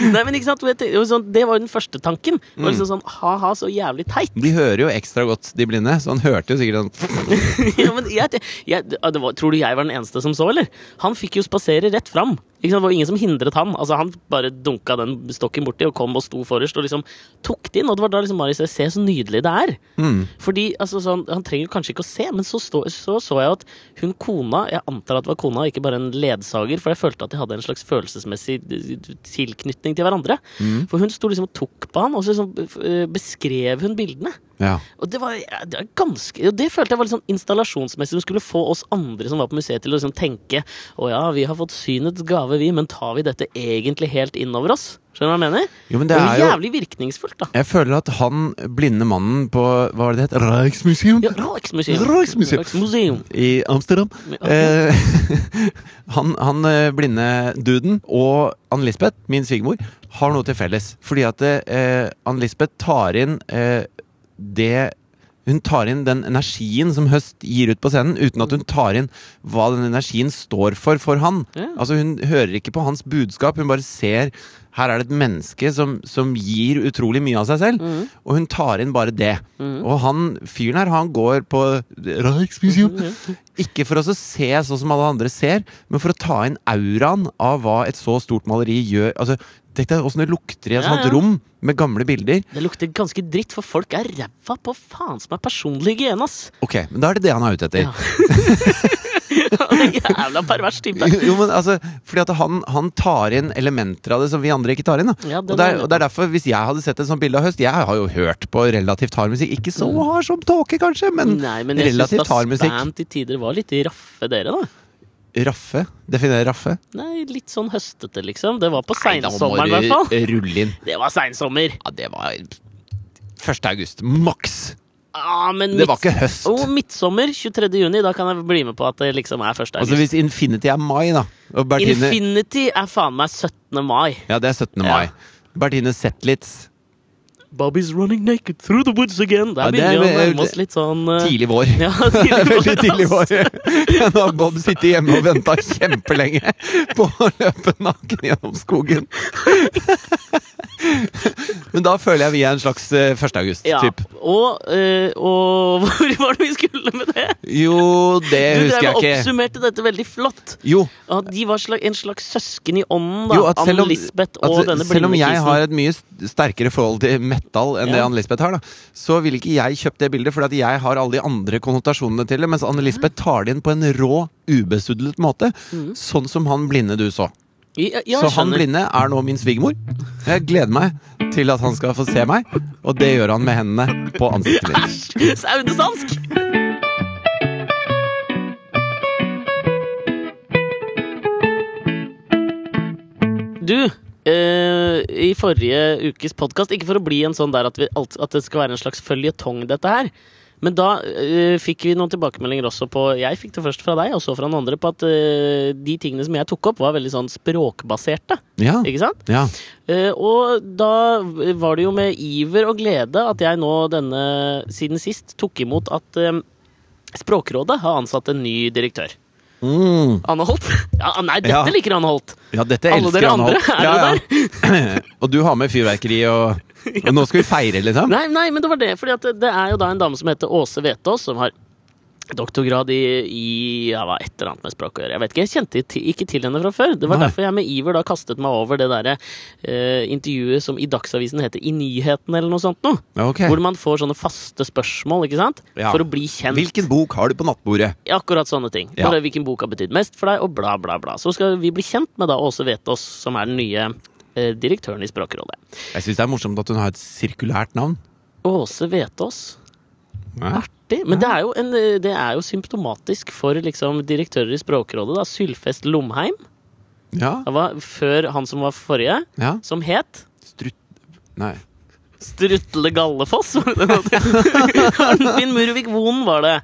B: Nei, men ikke sant? Jeg tenkte- det var sånn- Det var jo den første tanken. Det var liksom
A: Mm.
B: sånn ha-ha, så jævlig teit.
A: De hører jo ekstra godt, de blinde, så han hørte jo sikkert sånn
B: ja, men jeg, jeg, ah, det var, tror du jeg var den eneste som så, eller? Han fikk jo spasere rett fram. Ikke sant? Det var ingen som hindret han. Altså, han bare dunka den stokken borti og kom og sto forrest og liksom tok det inn. Og det var da liksom Mari sa se så nydelig det er. Fordi altså, sånn, han trenger jo kanskje ikke å se, men så så, så så jeg at hun kona Jeg antar at det var kona, ikke bare en ledsager, for jeg følte at de hadde en slags følelsesmessig tilknytning til hverandre. For hun sto liksom og tok på han, og så liksom, eh, beskrev hun bildene.
A: Ja.
B: Og det var, ja, det var ganske Og det følte jeg var litt sånn installasjonsmessig som skulle få oss andre som var på museet, til å liksom tenke Å ja, vi har fått synets gave, vi, men tar vi dette egentlig helt innover oss? Skjønner du hva jeg mener?
A: Jo, men det
B: Det er
A: er
B: jo
A: jo
B: jævlig virkningsfullt, da.
A: Jeg føler at han blinde mannen på Hva var det det het? Rijksmuseum?
B: Ja, Rijksmuseum.
A: Rijksmuseum.
B: Rijksmuseum.
A: i Amsterdam.
B: Ja.
A: Eh, han, han eh, blinde duden og Ann Lisbeth, min svigermor, har noe til felles. Fordi at eh, Ann Lisbeth tar inn eh, det Hun tar inn den energien som Høst gir ut på scenen, uten at hun tar inn hva den energien står for for han.
B: Ja.
A: Altså Hun hører ikke på hans budskap, hun bare ser her er det et menneske som, som gir utrolig mye av seg selv,
B: Mhm.
A: og hun tar inn bare det. Og han fyren her, han går på Rijksmuseum ikke for å så se sånn som alle andre ser, men for å ta inn auraen av hva et så stort maleri gjør. Altså, Tenk deg åssen det lukter i et
B: Ja,
A: sånt
B: ja.
A: rom med gamle bilder.
B: Det lukter ganske dritt, for folk er ræva på faen som er personlig hygiene, ass!
A: Ok, men da er det det han er ute etter.
B: Ja. Jævla pervers type.
A: Jo, men altså, fordi at han, han tar inn elementer av det som vi andre ikke tar inn. Da.
B: Ja, den
A: og, det er,
B: er-
A: og det er derfor, hvis jeg hadde sett et sånt bilde av høst Jeg har jo hørt på relativt hard musikk. Ikke så hard som tåke, kanskje, men,
B: Mm. Nei, men jeg syns da
A: relativt hard musikk.
B: spam til tider var litt raffe, dere, da.
A: Raffe. Definere raffe.
B: Nei, litt sånn høstete, liksom. Det var på
A: Nei, da må
B: seinsommeren, i hvert fall.
A: du rulle inn.
B: Det var seinsommer.
A: Ja, det var 1. august. Maks!
B: Ah, men
A: Det var
B: midt-
A: ikke høst.
B: Å, midtsommer 23. juni. Da kan jeg bli med på at det liksom er 1. august.
A: Altså hvis Infinity er mai, da. Og Bertine
B: Infinity er faen meg 17. mai.
A: Ja, det er 17. mai. Bertine Zetlitz.
B: Bobby's running naked through the woods again. Der
A: Ja, det er-
B: begynner vi å nærme oss litt sånn eh,
A: Tidlig vår.
B: Ja, tidlig vår,
A: Veldig tidlig
B: ass.
A: vår. Da har Bob sittet hjemme og venta kjempelenge på å løpe naken gjennom skogen. Men da føler jeg vi er en slags eh, 1.
B: Ja.
A: august-typ.
B: Og, eh, og hvor var det vi skulle med det?
A: Jo, det
B: Du drev
A: husker
B: og
A: jeg ikke.
B: oppsummerte dette veldig flott.
A: Jo,
B: At de var sla- en slags søsken i ånden, da.
A: jo at selv om,
B: Anne-Lisbeth
A: at
B: og denne
A: selv om jeg
B: blindekisen.
A: har et mye st- sterkere forhold til metal enn det
B: Ja.
A: Anne-Lisbeth har, da, så vil ikke jeg kjøpe det bildet, fordi at jeg har alle de andre konnotasjonene til det, mens Anne-Lisbeth tar det inn på en rå, ubesudlet måte.
B: Mm.
A: Sånn som han blinde du så.
B: Ja, ja,
A: så han
B: jeg skjønner.
A: blinde er nå min svigermor. Jeg gleder meg til at han skal få se meg, og det gjør han med hendene på ansiktet mitt.
B: Æsj! Saunesansk! Du, eh, i forrige ukes podkast Ikke for å bli en sånn der at, vi, alt, at det skal være en slags føljetong, dette her. Men da eh, fikk vi noen tilbakemeldinger også på Jeg fikk det først fra deg, og så fra noen andre, på at eh, de tingene som jeg tok opp, var veldig sånn språkbaserte.
A: Ja,
B: Ikke sant?
A: ja.
B: Eh, og da var det jo med iver og glede at jeg nå denne siden sist tok imot at eh, Språkrådet har ansatt en ny direktør.
A: Mm.
B: Anne Holt? Ja, nei, dette
A: Ja.
B: liker Anne Holt!
A: ja dette
B: Alle
A: elsker
B: dere
A: han
B: andre,
A: Holt.
B: er
A: ja. Og du har med fyrverkeri, og, og nå skal vi feire, liksom?
B: Nei, nei, men det var det, fordi at det, det er jo da en dame som heter Åse Vetås, som har doktorgrad i, i ja, hva, et eller annet med språk å gjøre. Jeg vet ikke, jeg kjente ti- ikke til henne fra før. Det var
A: Nei.
B: derfor jeg med iver da kastet meg over det derre eh, intervjuet som i Dagsavisen heter I nyheten, eller noe sånt noe.
A: Ja, ok.
B: Hvor man får sånne faste spørsmål ikke sant?
A: Ja.
B: for å bli kjent.
A: Hvilken bok har du på nattbordet?
B: Akkurat sånne ting.
A: Ja.
B: Bare hvilken bok har betydd mest for deg, og bla, bla, bla. Så skal vi bli kjent med da Åse Vetås, som er den nye eh, direktøren i Språkrådet.
A: Jeg syns det er morsomt at hun har et sirkulært navn.
B: Åse Vetås.
A: Ja.
B: Artig. Men det er, jo en, eh, det er jo symptomatisk for liksom, direktører i Språkrådet. da. Sylfest Lomheim,
A: ja.
B: han var før han som var forrige,
A: ja.
B: som het
A: Strutt... Nei.
B: Strutle Gallefoss. var det det het? Arnfinn Murvik Vonen var det.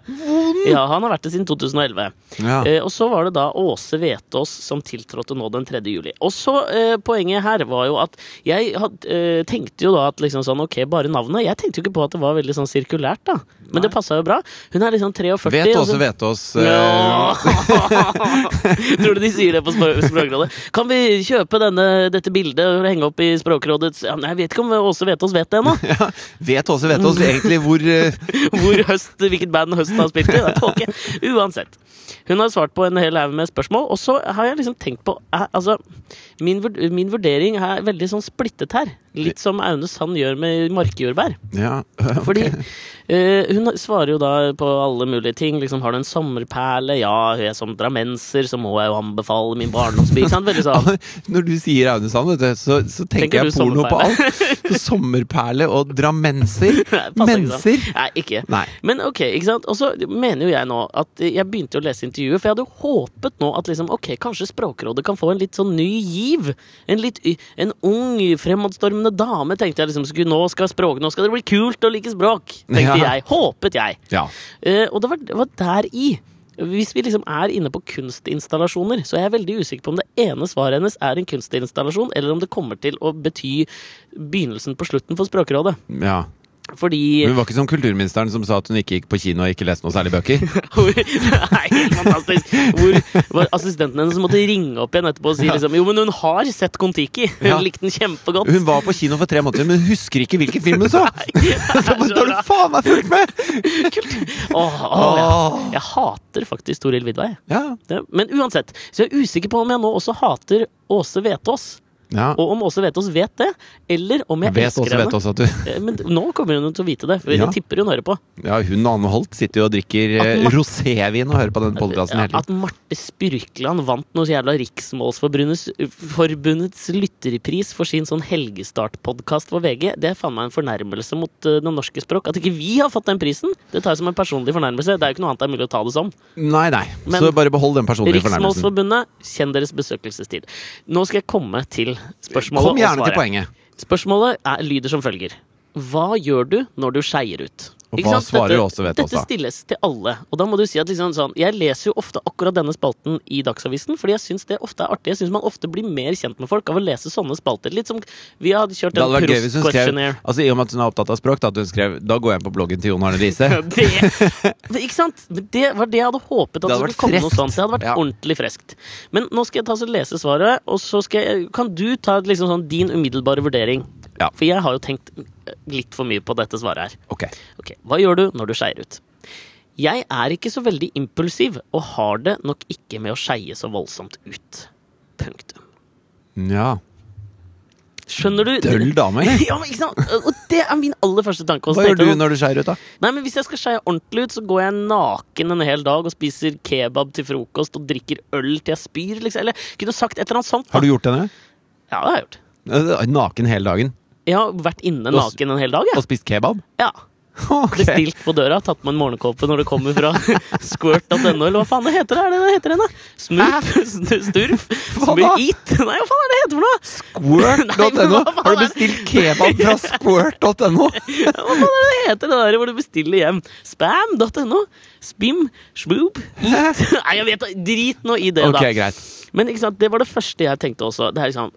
B: Ja, han har vært det siden 2011.
A: Ja.
B: Eh, og så var det da Åse Vetås som tiltrådte nå den 3. juli. Og så eh, poenget her var jo at jeg had, eh, tenkte jo da at liksom sånn ok, bare navnet. Jeg tenkte jo ikke på at det var veldig sånn sirkulært, da. Men det passa jo bra. Hun er liksom 43.
A: Vet
B: og
A: også,
B: så-
A: vet oss. eh,
B: Ja. Tror du de sier det på spro- Språkrådet? Kan vi kjøpe denne, dette bildet og henge opp i Språkrådets ja, men Jeg vet ikke om Åse Vetås vet det ennå.
A: Ja, vet også, vet oss egentlig hvor eh,
B: Hvor høst, hvilket band høsten har spilt i. Det er tåke. Uansett. Hun har svart på en hel haug med spørsmål, og så har jeg liksom tenkt på eh, Altså, min, vurd- min vurdering er veldig sånn splittet her. Litt som Aune Sand gjør med markjordbær.
A: Ja, ok.
B: Fordi eh, hun svarer jo da på alle mulige ting. Liksom, har du en sommerperle? Ja, jeg som drammenser, så må jeg jo anbefale min barndomsby. ikke sant? Veldig sånn.
A: Når du sier Aune Sand, vet du, så, så tenker,
B: Tenker
A: jeg
B: du
A: porno på alt. Så sommerperle og drammenser.
B: Nei, passer ikke sånn.
A: Menser!
B: Nei, ikke.
A: Nei.
B: Men ok, ikke sant? Og så mener jo jeg nå at jeg begynte å lese intervjuet, for jeg hadde jo håpet nå at liksom, ok, kanskje Språkrådet kan få en litt sånn ny giv. En litt y en ung, fremadstormende dame, tenkte jeg liksom. Skulle, nå skal språk, nå skal det bli kult å like språk, tenkte
A: Ja.
B: jeg. Håpet jeg.
A: Ja.
B: Eh, og det var, det var der i. Hvis vi liksom er inne på kunstinstallasjoner, så er jeg veldig usikker på om det ene svaret hennes er en kunstinstallasjon, eller om det kommer til å bety begynnelsen på slutten for Språkrådet.
A: ja.
B: Fordi
A: Hun var ikke som kulturministeren som sa at hun ikke gikk på kino og ikke leste noe særlig bøker.
B: hvor, Nei, helt fantastisk! Hvor var assistenten hennes som måtte ringe opp igjen etterpå og si liksom Jo, men hun har sett Kon-Tiki! Hun
A: Ja.
B: likte den kjempegodt!
A: Hun var på kino for tre måneder, men husker ikke hvilken film hun så!
B: Nei, det er
A: Så
B: så
A: bare, Da har
B: bra.
A: du faen meg fulgt med!
B: Åh, åh, jeg, jeg hater faktisk Toril Vidvei.
A: Ja.
B: Det, men uansett, så jeg er usikker på om jeg nå også hater Åse Vetås.
A: Ja.
B: Og om Åse Vetås vet det, eller om jeg
A: Vet
B: elsker
A: også, vet
B: henne.
A: også at du
B: Eh, Men nå kommer hun til å vite det, for
A: Ja.
B: jeg tipper hun hører på.
A: Ja, hun og Anne Holt sitter jo og drikker
B: At
A: eh,
B: Mart-
A: rosévin og hører på den podkasten hele tiden.
B: At Marte Spyrkland vant noe jævla Riksmålsforbundets forbundets lytterpris for sin sånn helgestartpodkast for VG, det er faen meg en fornærmelse mot eh, det norske språk. At ikke vi har fått den prisen, det tar jeg som en personlig fornærmelse. Det er jo ikke noe annet det er mulig å ta det som.
A: Nei, nei.
B: Men-
A: så bare behold den personlige fornærmelsen.
B: Riksmålsforbundet, kjenn deres besøkelsestid. Nå skal jeg komme til spørsmålet
A: Kom gjerne til poenget.
B: Spørsmålet er, lyder som følger. Hva gjør du når du skeier ut?
A: Og
B: Ikke
A: hva
B: sant?
A: svarer Åse Vetås, da?
B: Dette stilles til alle. Og da må du si at liksom sånn, Jeg leser jo ofte akkurat denne spalten i Dagsavisen, fordi jeg syns det ofte er artig. Jeg syns man ofte blir mer kjent med folk av å lese sånne spalter. Litt som vi har kjørt
A: Det hadde
B: den
A: vært gøy hvis hun skrev
B: prost-questionnaire.
A: Altså I og med at hun er opptatt av språk, da, at hun skrev Da går jeg inn på bloggen til Jon Arne Riise.
B: Det, men ikke sant? Men det var det jeg hadde håpet.
A: Det
B: At
A: hadde
B: det skulle
A: vært
B: komme noe
A: freskt.
B: sånt. Det hadde vært
A: Ja.
B: ordentlig freskt. Men nå skal jeg ta så lese svaret, og så skal jeg, kan du ta liksom sånn din umiddelbare vurdering.
A: Ja.
B: For jeg har jo tenkt eh, litt for mye på dette svaret her.
A: Ok.
B: Ok, Hva gjør du når du skeier ut? Jeg er ikke så veldig impulsiv, og har det nok ikke med å skeie så voldsomt ut. Punktum.
A: Ja.
B: Skjønner du?
A: Døll dame.
B: Ja, men ikke sant? Og det er min aller første tanke.
A: Hva gjør du når du skeier ut, da?
B: Nei, men Hvis jeg skal skeie ordentlig ut, så går jeg naken en hel dag og spiser kebab til frokost og drikker øl til jeg spyr, liksom. Eller kunne sagt et eller annet sånt. da.
A: Har du gjort henne?
B: Ja, det har jeg gjort.
A: Naken hele dagen?
B: Jeg har vært inne
A: Og s-
B: naken en hel dag, jeg.
A: Og spist kebab?
B: Ja.
A: Ok.
B: Bestilt på døra, tatt med en morgenkåpe når det kommer fra squirt.no, eller hva faen det heter? Er det det heter henne? Smurf? Snu- Sturf?
A: Hva da?
B: Smurf-eat? Nei, hva faen er det det heter for noe? Nei, men
A: Squirt.no?
B: hva
A: Har
B: faen
A: du
B: er det?
A: bestilt kebab fra squirt.no?
B: Hva faen er det det heter det der hvor du bestiller hjem? Spam.no? Spim? Smoob? Eat? Nei, jeg vet da. Drit nå i det,
A: Ok,
B: da.
A: greit.
B: Men ikke sant, det var det første jeg tenkte også. Det er, liksom,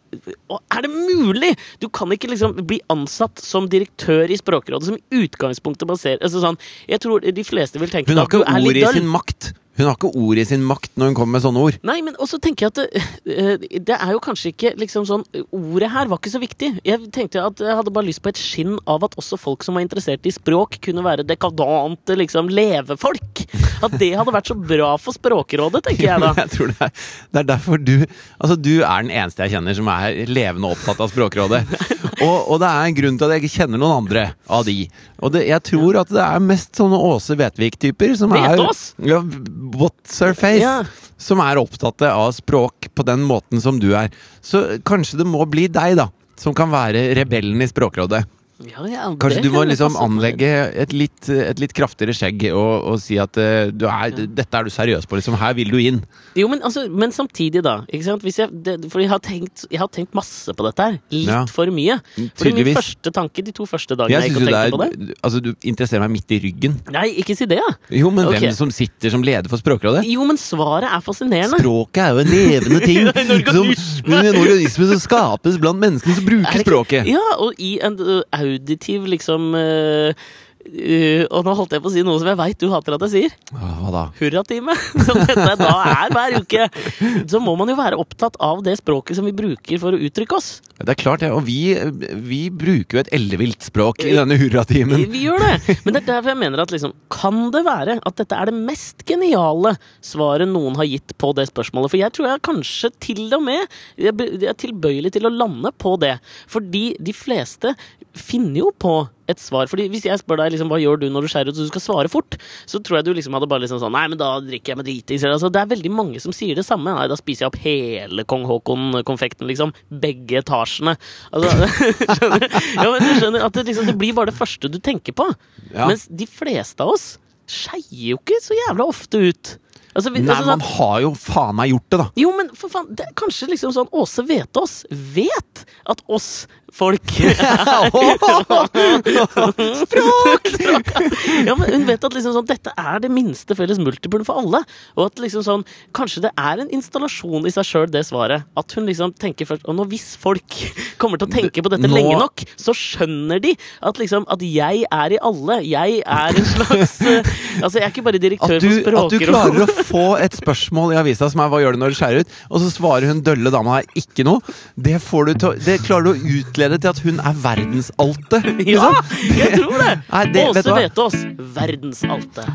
B: å, er det mulig?! Du kan ikke liksom bli ansatt som direktør i Språkrådet som i utgangspunktet baserer altså sånn, Jeg tror de fleste vil tenke
A: Hun har
B: at du
A: ikke
B: er litt
A: ord i
B: døll.
A: sin makt. Hun har ikke ord i sin makt når hun kommer med sånne ord.
B: Nei, men også tenker jeg at det, eh, det er jo kanskje ikke liksom sånn Ordet her var ikke så viktig. Jeg tenkte at jeg hadde bare lyst på et skinn av at også folk som var interessert i språk, kunne være dekadante liksom levefolk. At det hadde vært så bra for Språkrådet, tenker jeg da.
A: Jeg tror det er, det er derfor du Altså, du er den eneste jeg kjenner som er levende opptatt av Språkrådet. Og, og det er en grunn til at jeg ikke kjenner noen andre av de. Og det, jeg tror at det er mest sånne Åse Vetvik-typer som er
B: Vetås?
A: ja, What's her face?
B: Ja.
A: Som er opptatt av språk på den måten som du er. Så kanskje det må bli deg, da. Som kan være rebellen i Språkrådet.
B: Ja, ja,
A: Kanskje
B: det
A: du må
B: kan jo
A: liksom
B: passe.
A: anlegge et litt, et litt kraftigere skjegg og, og si at eh, du er, dette er du seriøs på, liksom. Her vil du inn.
B: Jo, men, altså, men samtidig, da. Ikke sant? Hvis jeg, det, for jeg har, tenkt, jeg har tenkt masse på dette her. Litt
A: Ja.
B: for mye. Fordi min
A: Tydeligvis.
B: første tanke de to første dagene
A: Jeg
B: jeg,
A: synes jo
B: gikk og
A: det
B: tenkte på det
A: er Altså, du interesserer meg midt i ryggen.
B: Nei, ikke si det, ja.
A: Jo, men
B: Ok.
A: hvem som sitter som leder for Språkrådet?
B: Jo, men svaret er fascinerende.
A: Språket er jo en levende ting.
B: Det er en organisme.
A: Som, en organisme som skapes blant menneskene som
B: Er
A: bruker
B: det ikke-
A: språket.
B: Ja, og i en ø, auditiv liksom ø, ø, Og nå holdt jeg på å si noe som jeg veit du hater at jeg sier.
A: Ah, Hva da?
B: Hurratime! Som dette da er hver uke. Så må man jo være opptatt av det språket som vi bruker for å uttrykke oss.
A: Det er klart, det. Og vi, vi bruker jo et ellevilt språk i denne hurratimen.
B: Vi gjør det! Men det er derfor jeg mener at liksom, kan det være at dette er det mest geniale svaret noen har gitt på det spørsmålet? For jeg tror jeg kanskje til og med jeg be- jeg er tilbøyelig til å lande på det. Fordi de fleste finner jo på et svar. Fordi hvis jeg spør deg liksom, hva gjør du når du skjærer ut og du skal svare fort, så tror jeg du liksom hadde bare liksom sånn Nei, men da drikker jeg med dritis. eller, Altså, det er veldig mange som sier det samme. Nei, da spiser jeg opp hele kong Haakon-konfekten, liksom. Begge etasjene. Altså, skjønner? Ja, men du skjønner at det, liksom, det blir bare det første du tenker på.
A: Ja.
B: Mens de fleste av oss skeier jo ikke så jævla ofte ut. Altså, vi,
A: Nei,
B: altså,
A: man
B: sånn-
A: har jo faen meg gjort det, da.
B: jo, men for faen, det er kanskje liksom sånn Åse Vetås vet at oss folk Språk! ja, men hun vet at liksom sånn, dette er det minste felles multiplum for alle. Og at liksom sånn, kanskje det er en installasjon i seg sjøl, det svaret. At hun liksom tenker først Og nå hvis folk kommer til å tenke på dette
A: Nå-
B: lenge nok, så skjønner de at liksom at jeg er i alle. Jeg er en slags eh, Altså, jeg er ikke bare direktør
A: At du,
B: for
A: at du
B: Språkrådet.
A: klarer å få et spørsmål i avisa som er 'hva gjør du når du skjærer ut', og så svarer hun dølle dama her 'ikke noe', det, får du til, å- det klarer du å utlede til at hun er verdensalte.
B: Ja,
A: Liksom.
B: jeg tror det!
A: Nei, det- vet du
B: Åse
A: hva?
B: Vetås, verdensalte.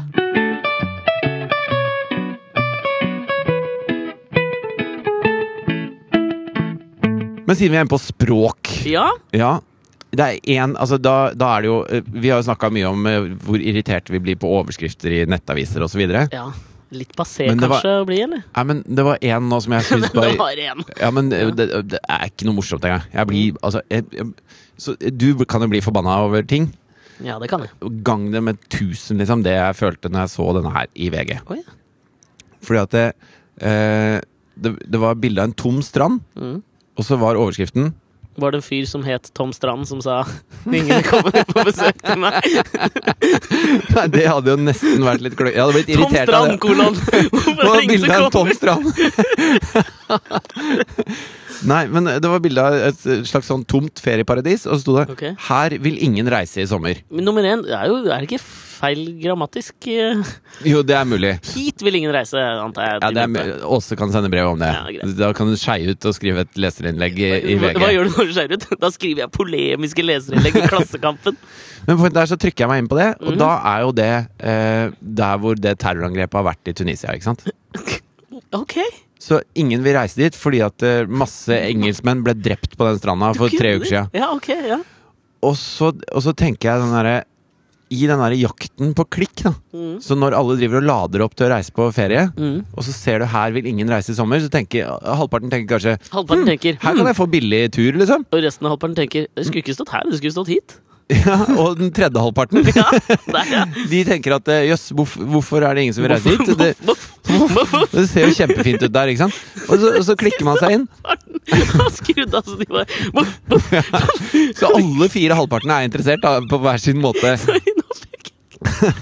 A: Men siden vi er inne på språk
B: Ja,
A: Ja. Det er en, altså da, da er det jo eh, Vi har jo snakka mye om eh, hvor irriterte vi blir på overskrifter i nettaviser osv. Nei,
B: ja. Litt passé
A: Men det var-
B: kanskje å bli, eller?
A: men det var en nå som jeg
B: Men
A: syns
B: det
A: bare
B: var en.
A: Ja, men eh, det, det er ikke noe morsomt engang. Jeg blir altså jeg, jeg, Så du kan jo bli forbanna over ting.
B: Ja, det kan jeg.
A: Gang det med tusen, liksom. Det jeg følte når jeg så denne her i VG.
B: Å ja.
A: Fordi at det, eh, det, det var bilde av en tom strand,
B: Mm.
A: og så var overskriften
B: Var det en fyr som het Tom Strand som sa ingen kommer på besøk til meg?
A: Nei, det hadde jo nesten vært litt kløy. Jeg hadde blitt
B: Tom
A: irritert av
B: Strand,
A: det.
B: kolon! Hvorfor
A: Det
B: er
A: var
B: det ingen
A: bilde av
B: som
A: en tom
B: kommer?
A: strand. Nei, men det var bilde av et slags sånn tomt ferieparadis, og så sto det
B: Ok.
A: 'Her vil ingen reise i sommer'.
B: Men nummer én det er jo er det ikke feil grammatisk. eh,
A: Jo, det er mulig.
B: Hit vil ingen reise, antar jeg.
A: Ja,
B: de
A: det er,
B: mente.
A: mu- Åse kan sende brev om det.
B: Ja, greit.
A: da kan du skeie ut og skrive et leserinnlegg i, i
B: hva,
A: VG.
B: hva gjør du når du skjærer ut? Da skriver jeg polemiske leserinnlegg i Klassekampen.
A: Men for- der så trykker jeg meg inn på det, og da er jo det eh, der hvor det terrorangrepet har vært i Tunisia. ikke sant?
B: Ok!
A: Så ingen vil reise dit fordi at eh, masse engelskmenn ble drept på den stranda for tre uker siden.
B: Ja, ok, ja.
A: Og så, og så tenker jeg den derre i den derre jakten på klikk, da.
B: Mm.
A: Så når alle driver og lader opp til å reise på ferie,
B: Mm.
A: og så ser du her vil ingen reise i sommer, så tenker halvparten tenker kanskje
B: Halvparten tenker
A: her kan jeg få billig tur, liksom.
B: Og resten av halvparten tenker det skulle ikke stått her, det skulle stått hit.
A: Ja, og den tredje halvparten
B: Ja, der, ja.
A: De tenker at eh, jøss, hvorf- hvorfor er det ingen som vil reise dit? Det,
B: Voff, voff, voff, voff.
A: det ser jo kjempefint ut der, ikke sant? Og så, og så klikker man seg inn,
B: Han skrudde av så de bare voff, voff.
A: så alle fire halvpartene er interessert da, på hver sin måte.
B: Nå fikk-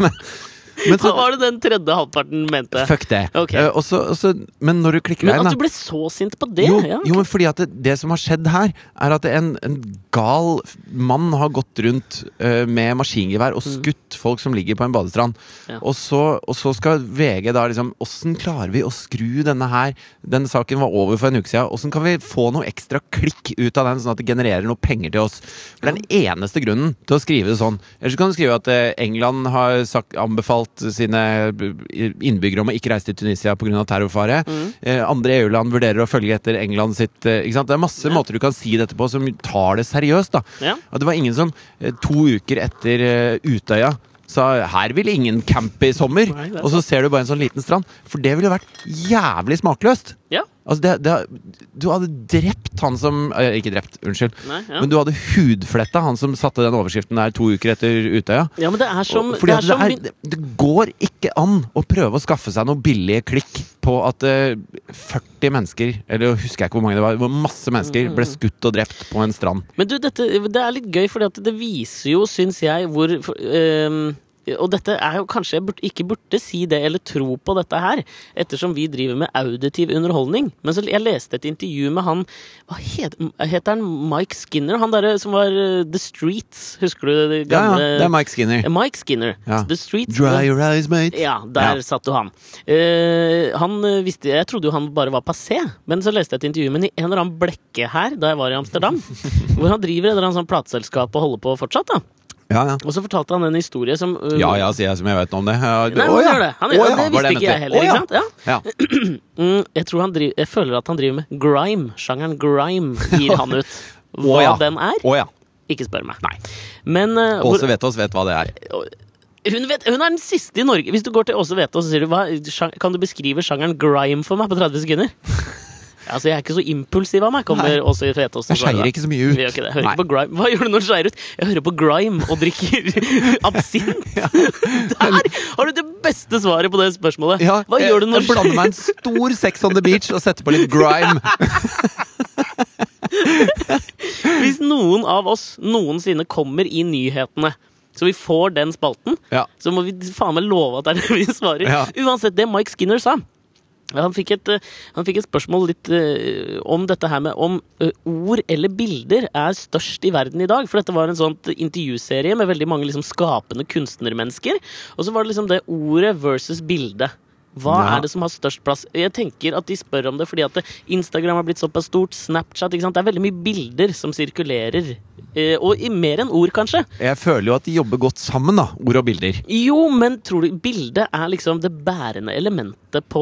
A: Men så
B: Hva var det den tredje halvparten mente?
A: Fuck det.
B: Ok.
A: Eh, og så- og så- men når du klikker deg
B: Men
A: inn,
B: at
A: da
B: du ble så sint på det?
A: jo,
B: ja.
A: jo, men fordi at det, det som har skjedd her, er at en, en gal f- mann har gått rundt eh, med maskingevær og skutt folk som ligger på en badestrand.
B: Mm. Ja.
A: Og, så, og så skal VG da liksom Åssen klarer vi å skru denne her Denne saken var over for en uke siden. Åssen kan vi få noe ekstra klikk ut av den, sånn at det genererer noe penger til oss? For det er den eneste grunnen til å skrive det sånn. Ellers kan du skrive at eh, England har sagt, anbefalt sine innbyggere om å ikke reise til Tunisia pga. terrorfare.
B: Mm.
A: Eh, andre EU-land vurderer å følge etter England sitt eh, ikke sant? Det er masse måter du kan si dette på som tar det seriøst. da
B: Ja.
A: At Det var ingen som eh, to uker etter eh, Utøya sa 'her vil ingen campe i sommer',
B: Nei, det er
A: og så ser du bare en sånn liten strand. For det ville jo vært jævlig smakløst.
B: Ja.
A: Altså det, det, du hadde drept han som eh, Ikke drept, unnskyld.
B: Nei, ja.
A: Men du hadde hudfletta han som satte den overskriften der to uker etter Utøya.
B: ja, men det er som,
A: Fordi
B: det
A: at
B: er som
A: det,
B: min-
A: er, det går ikke an å prøve å skaffe seg noen billige klikk på at eh, 40 mennesker, eller jeg husker jeg ikke hvor mange det var, hvor masse mennesker
B: Mm.
A: ble skutt og drept på en strand.
B: Men du, dette, det er litt gøy, fordi at det viser jo, syns jeg, hvor for, ehm, Og dette er jo kanskje jeg burde, ikke burde si det eller tro på dette her, ettersom vi driver med auditiv underholdning. Men så jeg leste et intervju med han Hva het, heter han? Mike Skinner? Han derre som var eh, The Streets, husker du det
A: Ja,
B: gamle Eh,
A: ja, det er Mike Skinner.
B: Mike Skinner.
A: Ja.
B: The Streets.
A: Dry your eyes, mate.
B: Ja, der
A: Ja.
B: satt jo han. Eh, han eh, visste, jeg trodde jo han bare var passé, men så leste jeg et intervju med en eller annen blekke her da jeg var i Amsterdam. hvor han driver et eller annet sånt plateselskap og holder på fortsatt. da
A: Ja, ja.
B: Og så fortalte han en historie som eh,
A: Ja ja, sier jeg som jeg vet noe om det. Ja, du-
B: Nei,
A: Å,
B: han
A: ja.
B: gjør det. Han,
A: Å, ja,
B: gjør- det
A: var
B: visste ikke
A: mente.
B: jeg heller.
A: Å,
B: ikke sant? Ja.
A: Ja. Ja.
B: Mm, jeg, tror han driver, jeg føler at han driver med grime. Sjangeren grime gir han ut. Hva
A: Å, ja.
B: den er?
A: Å ja.
B: Ikke spør meg. Men eh, hvor-
A: Åse Vetås vet hva det er.
B: hun, vet, hun er den siste i Norge. Hvis du går til Åse Vetås og sier du, hva, sjang- Kan du beskrive sjangeren grime for meg på 30 sekunder? altså, Jeg er ikke så impulsiv av meg, kommer
A: Nei.
B: Åse Vetås til
A: Jeg
B: å svare
A: skeier
B: da.
A: ikke så mye ut.
B: Vi gjør ikke det. Hører
A: Nei.
B: ikke på grime. Hva gjør du når du skeier ut? Jeg hører på grime og drikker absint. Der har du det beste svaret på det spørsmålet.
A: Ja,
B: Hva
A: jeg-
B: gjør du når
A: Jeg blander meg en stor sex on the beach og setter på litt grime.
B: Hvis noen av oss noensinne kommer i nyhetene, så vi får den spalten,
A: Ja.
B: så må vi faen meg love at det er det vi svarer.
A: Ja.
B: Uansett det Mike Skinner sa. Han fikk, et, eh, han fikk et spørsmål litt eh, om dette her med om eh, ord eller bilder er størst i verden i dag. For dette var en sånn intervjuserie med veldig mange liksom, skapende kunstnermennesker. Og så var det liksom det ordet versus bildet. Hva
A: Ja.
B: er det som har størst plass? Jeg tenker at de spør om det fordi at Instagram har blitt såpass stort, Snapchat ikke sant? Det er veldig mye bilder som sirkulerer. eh, Og i mer enn ord, kanskje.
A: Jeg føler jo at de jobber godt sammen, da. Ord og bilder.
B: Jo, men tror du bildet er liksom det bærende elementet på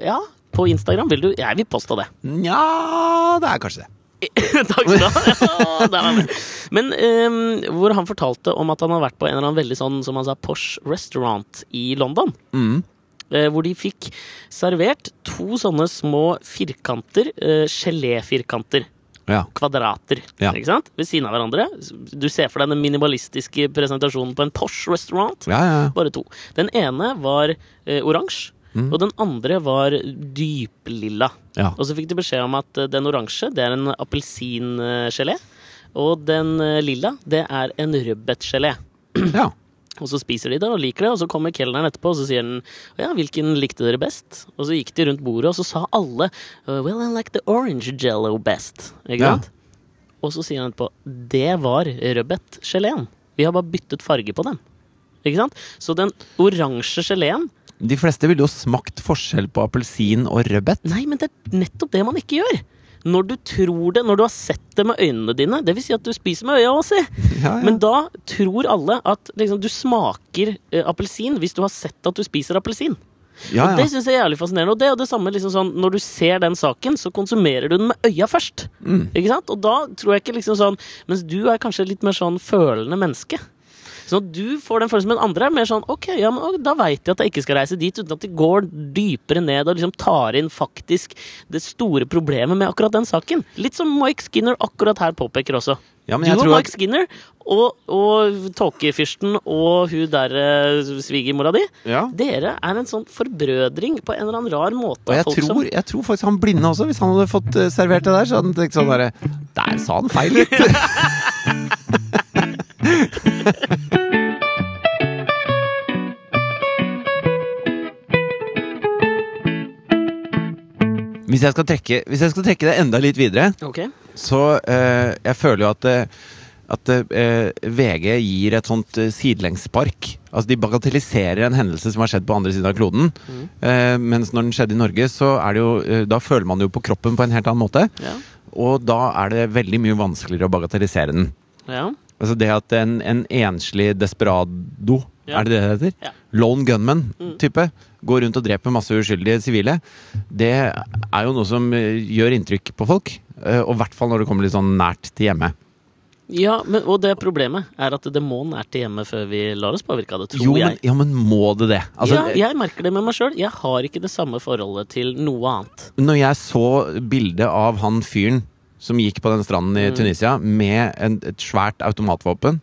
B: Ja, på Instagram, vil du Jeg vil påstå det.
A: Nja, det er kanskje det.
B: Takk skal du ha. Ja, der var det. Men ehm, hvor han fortalte om at han har vært på en eller annen veldig sånn, som han sa, posh restaurant i London.
A: Mm.
B: eh, Hvor de fikk servert to sånne små firkanter, eh, geléfirkanter.
A: Ja.
B: Kvadrater
A: Ja.
B: ikke sant? ved siden av hverandre. Du ser for deg den minimalistiske presentasjonen på en posh restaurant.
A: Ja, ja, ja.
B: Bare to. Den ene var eh, oransje, og den andre var dyplilla.
A: Mm. Ja.
B: Og så fikk de beskjed om at eh, den oransje, det er en appelsingelé. Og den eh, lilla, det er en rødbetgelé.
A: ja.
B: Og så spiser de det og liker det, og så kommer kelneren etterpå og så sier den, ja, hvilken likte dere best? Og så gikk de rundt bordet, og så sa alle «Uh, well, I like the orange jello best. Ikke
A: Ja.
B: sant? Og så sier han etterpå det var rødbetgeleen. Vi har bare byttet farge på den. Ikke sant? Så den oransje geleen
A: De fleste ville jo smakt forskjell på appelsin og rødbet.
B: Nei, men det er nettopp det man ikke gjør. Når du tror det, når du har sett det med øynene dine Det vil si at du spiser med øya òg, si.
A: Ja, ja.
B: Men da tror alle at liksom, du smaker eh, appelsin hvis du har sett at du spiser appelsin.
A: ja,
B: Og
A: ja.
B: Det syns jeg er jævlig fascinerende. Og det, og det samme liksom sånn, Når du ser den saken, så konsumerer du den med øya først.
A: Mm.
B: Ikke sant? Og da tror jeg ikke liksom sånn Mens du er kanskje litt mer sånn følende menneske. Sånn at du får den følelsen, men andre er mer sånn Ok, ja, men å, da veit jeg at jeg ikke skal reise dit, uten at de går dypere ned og liksom tar inn faktisk det store problemet med akkurat den saken. Litt som Mike Skinner akkurat her påpeker også.
A: Ja, men
B: du
A: jeg
B: og
A: tror at-
B: Mike Skinner og, og tåkefyrsten og hun der eh, svigermora di.
A: Ja.
B: Dere er en sånn forbrødring på en eller annen rar måte.
A: Og
B: av
A: jeg
B: folk som-
A: tror, jeg tror faktisk han blinde også, hvis han hadde fått eh, servert det der, så hadde han tenkt sånn derre Der sa han feil litt! Hvis jeg, skal trekke, hvis jeg skal trekke det enda litt videre,
B: Ok.
A: så eh, jeg føler jo at, eh, at eh, VG gir et sånt eh, sidelengspark. Altså de bagatelliserer en hendelse som har skjedd på andre siden av kloden. Eh, mens når den skjedde i Norge, så er det jo, eh, da føler man det jo på kroppen på en helt annen måte.
B: Ja.
A: Og da er det veldig mye vanskeligere å bagatellisere den.
B: ja.
A: Altså det at en, en enslig desperado,
B: Ja.
A: er det det det heter?
B: Ja. Mm.
A: Lone gunman-type. Går rundt og dreper masse uskyldige sivile. Det er jo noe som eh, gjør inntrykk på folk. eh, Og i hvert fall når det kommer litt sånn nært til hjemme.
B: ja men, og det problemet er at det må nært til hjemme før vi lar oss påvirke av det, tror
A: Jo, men,
B: jeg.
A: ja, men må det det? Altså,
B: ja, jeg merker det med meg sjøl. Jeg har ikke det samme forholdet til noe annet.
A: Når jeg så bildet av han fyren som gikk på den stranden
B: Mm.
A: i Tunisia med en, et svært automatvåpen,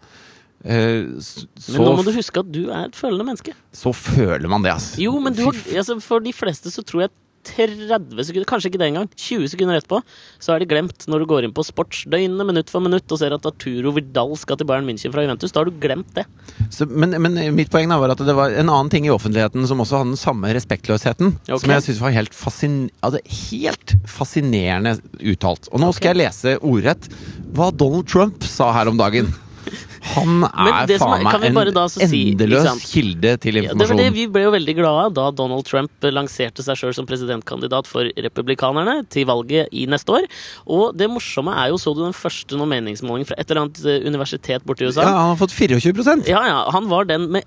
A: eh, s-
B: Men
A: så,
B: nå må du huske at du er et følende menneske.
A: så føler man det, altså.
B: Jo, men du har,
A: Fy f-
B: altså, for de fleste så tror jeg 30 sekunder, kanskje ikke det engang, 20 sekunder etterpå, så er det glemt når du går inn på sportsdøgnet minutt for minutt og ser at Arturo Vidal skal til Bayern München fra Juventus. Da har du glemt det.
A: Så, men, men mitt poeng da var at det var en annen ting i offentligheten som også hadde den samme respektløsheten,
B: Ok.
A: som jeg syns var helt, fascin altså, helt fascinerende uttalt. Og nå skal jeg lese ordrett hva Donald Trump sa her om dagen. Han er
B: det som er-
A: faen
B: kan
A: meg
B: vi bare
A: en
B: da så si, ikke sant?
A: endeløs kilde til
B: Ja, det var
A: informasjon.
B: det, vi ble jo veldig glade da Donald Trump lanserte seg sjøl som presidentkandidat for republikanerne til valget i neste år. Og det morsomme er jo, så du den første noen meningsmåling fra et eller annet eh, universitet borti
A: Ja,
B: USA?
A: han har fått 24
B: Ja, ja, han var den med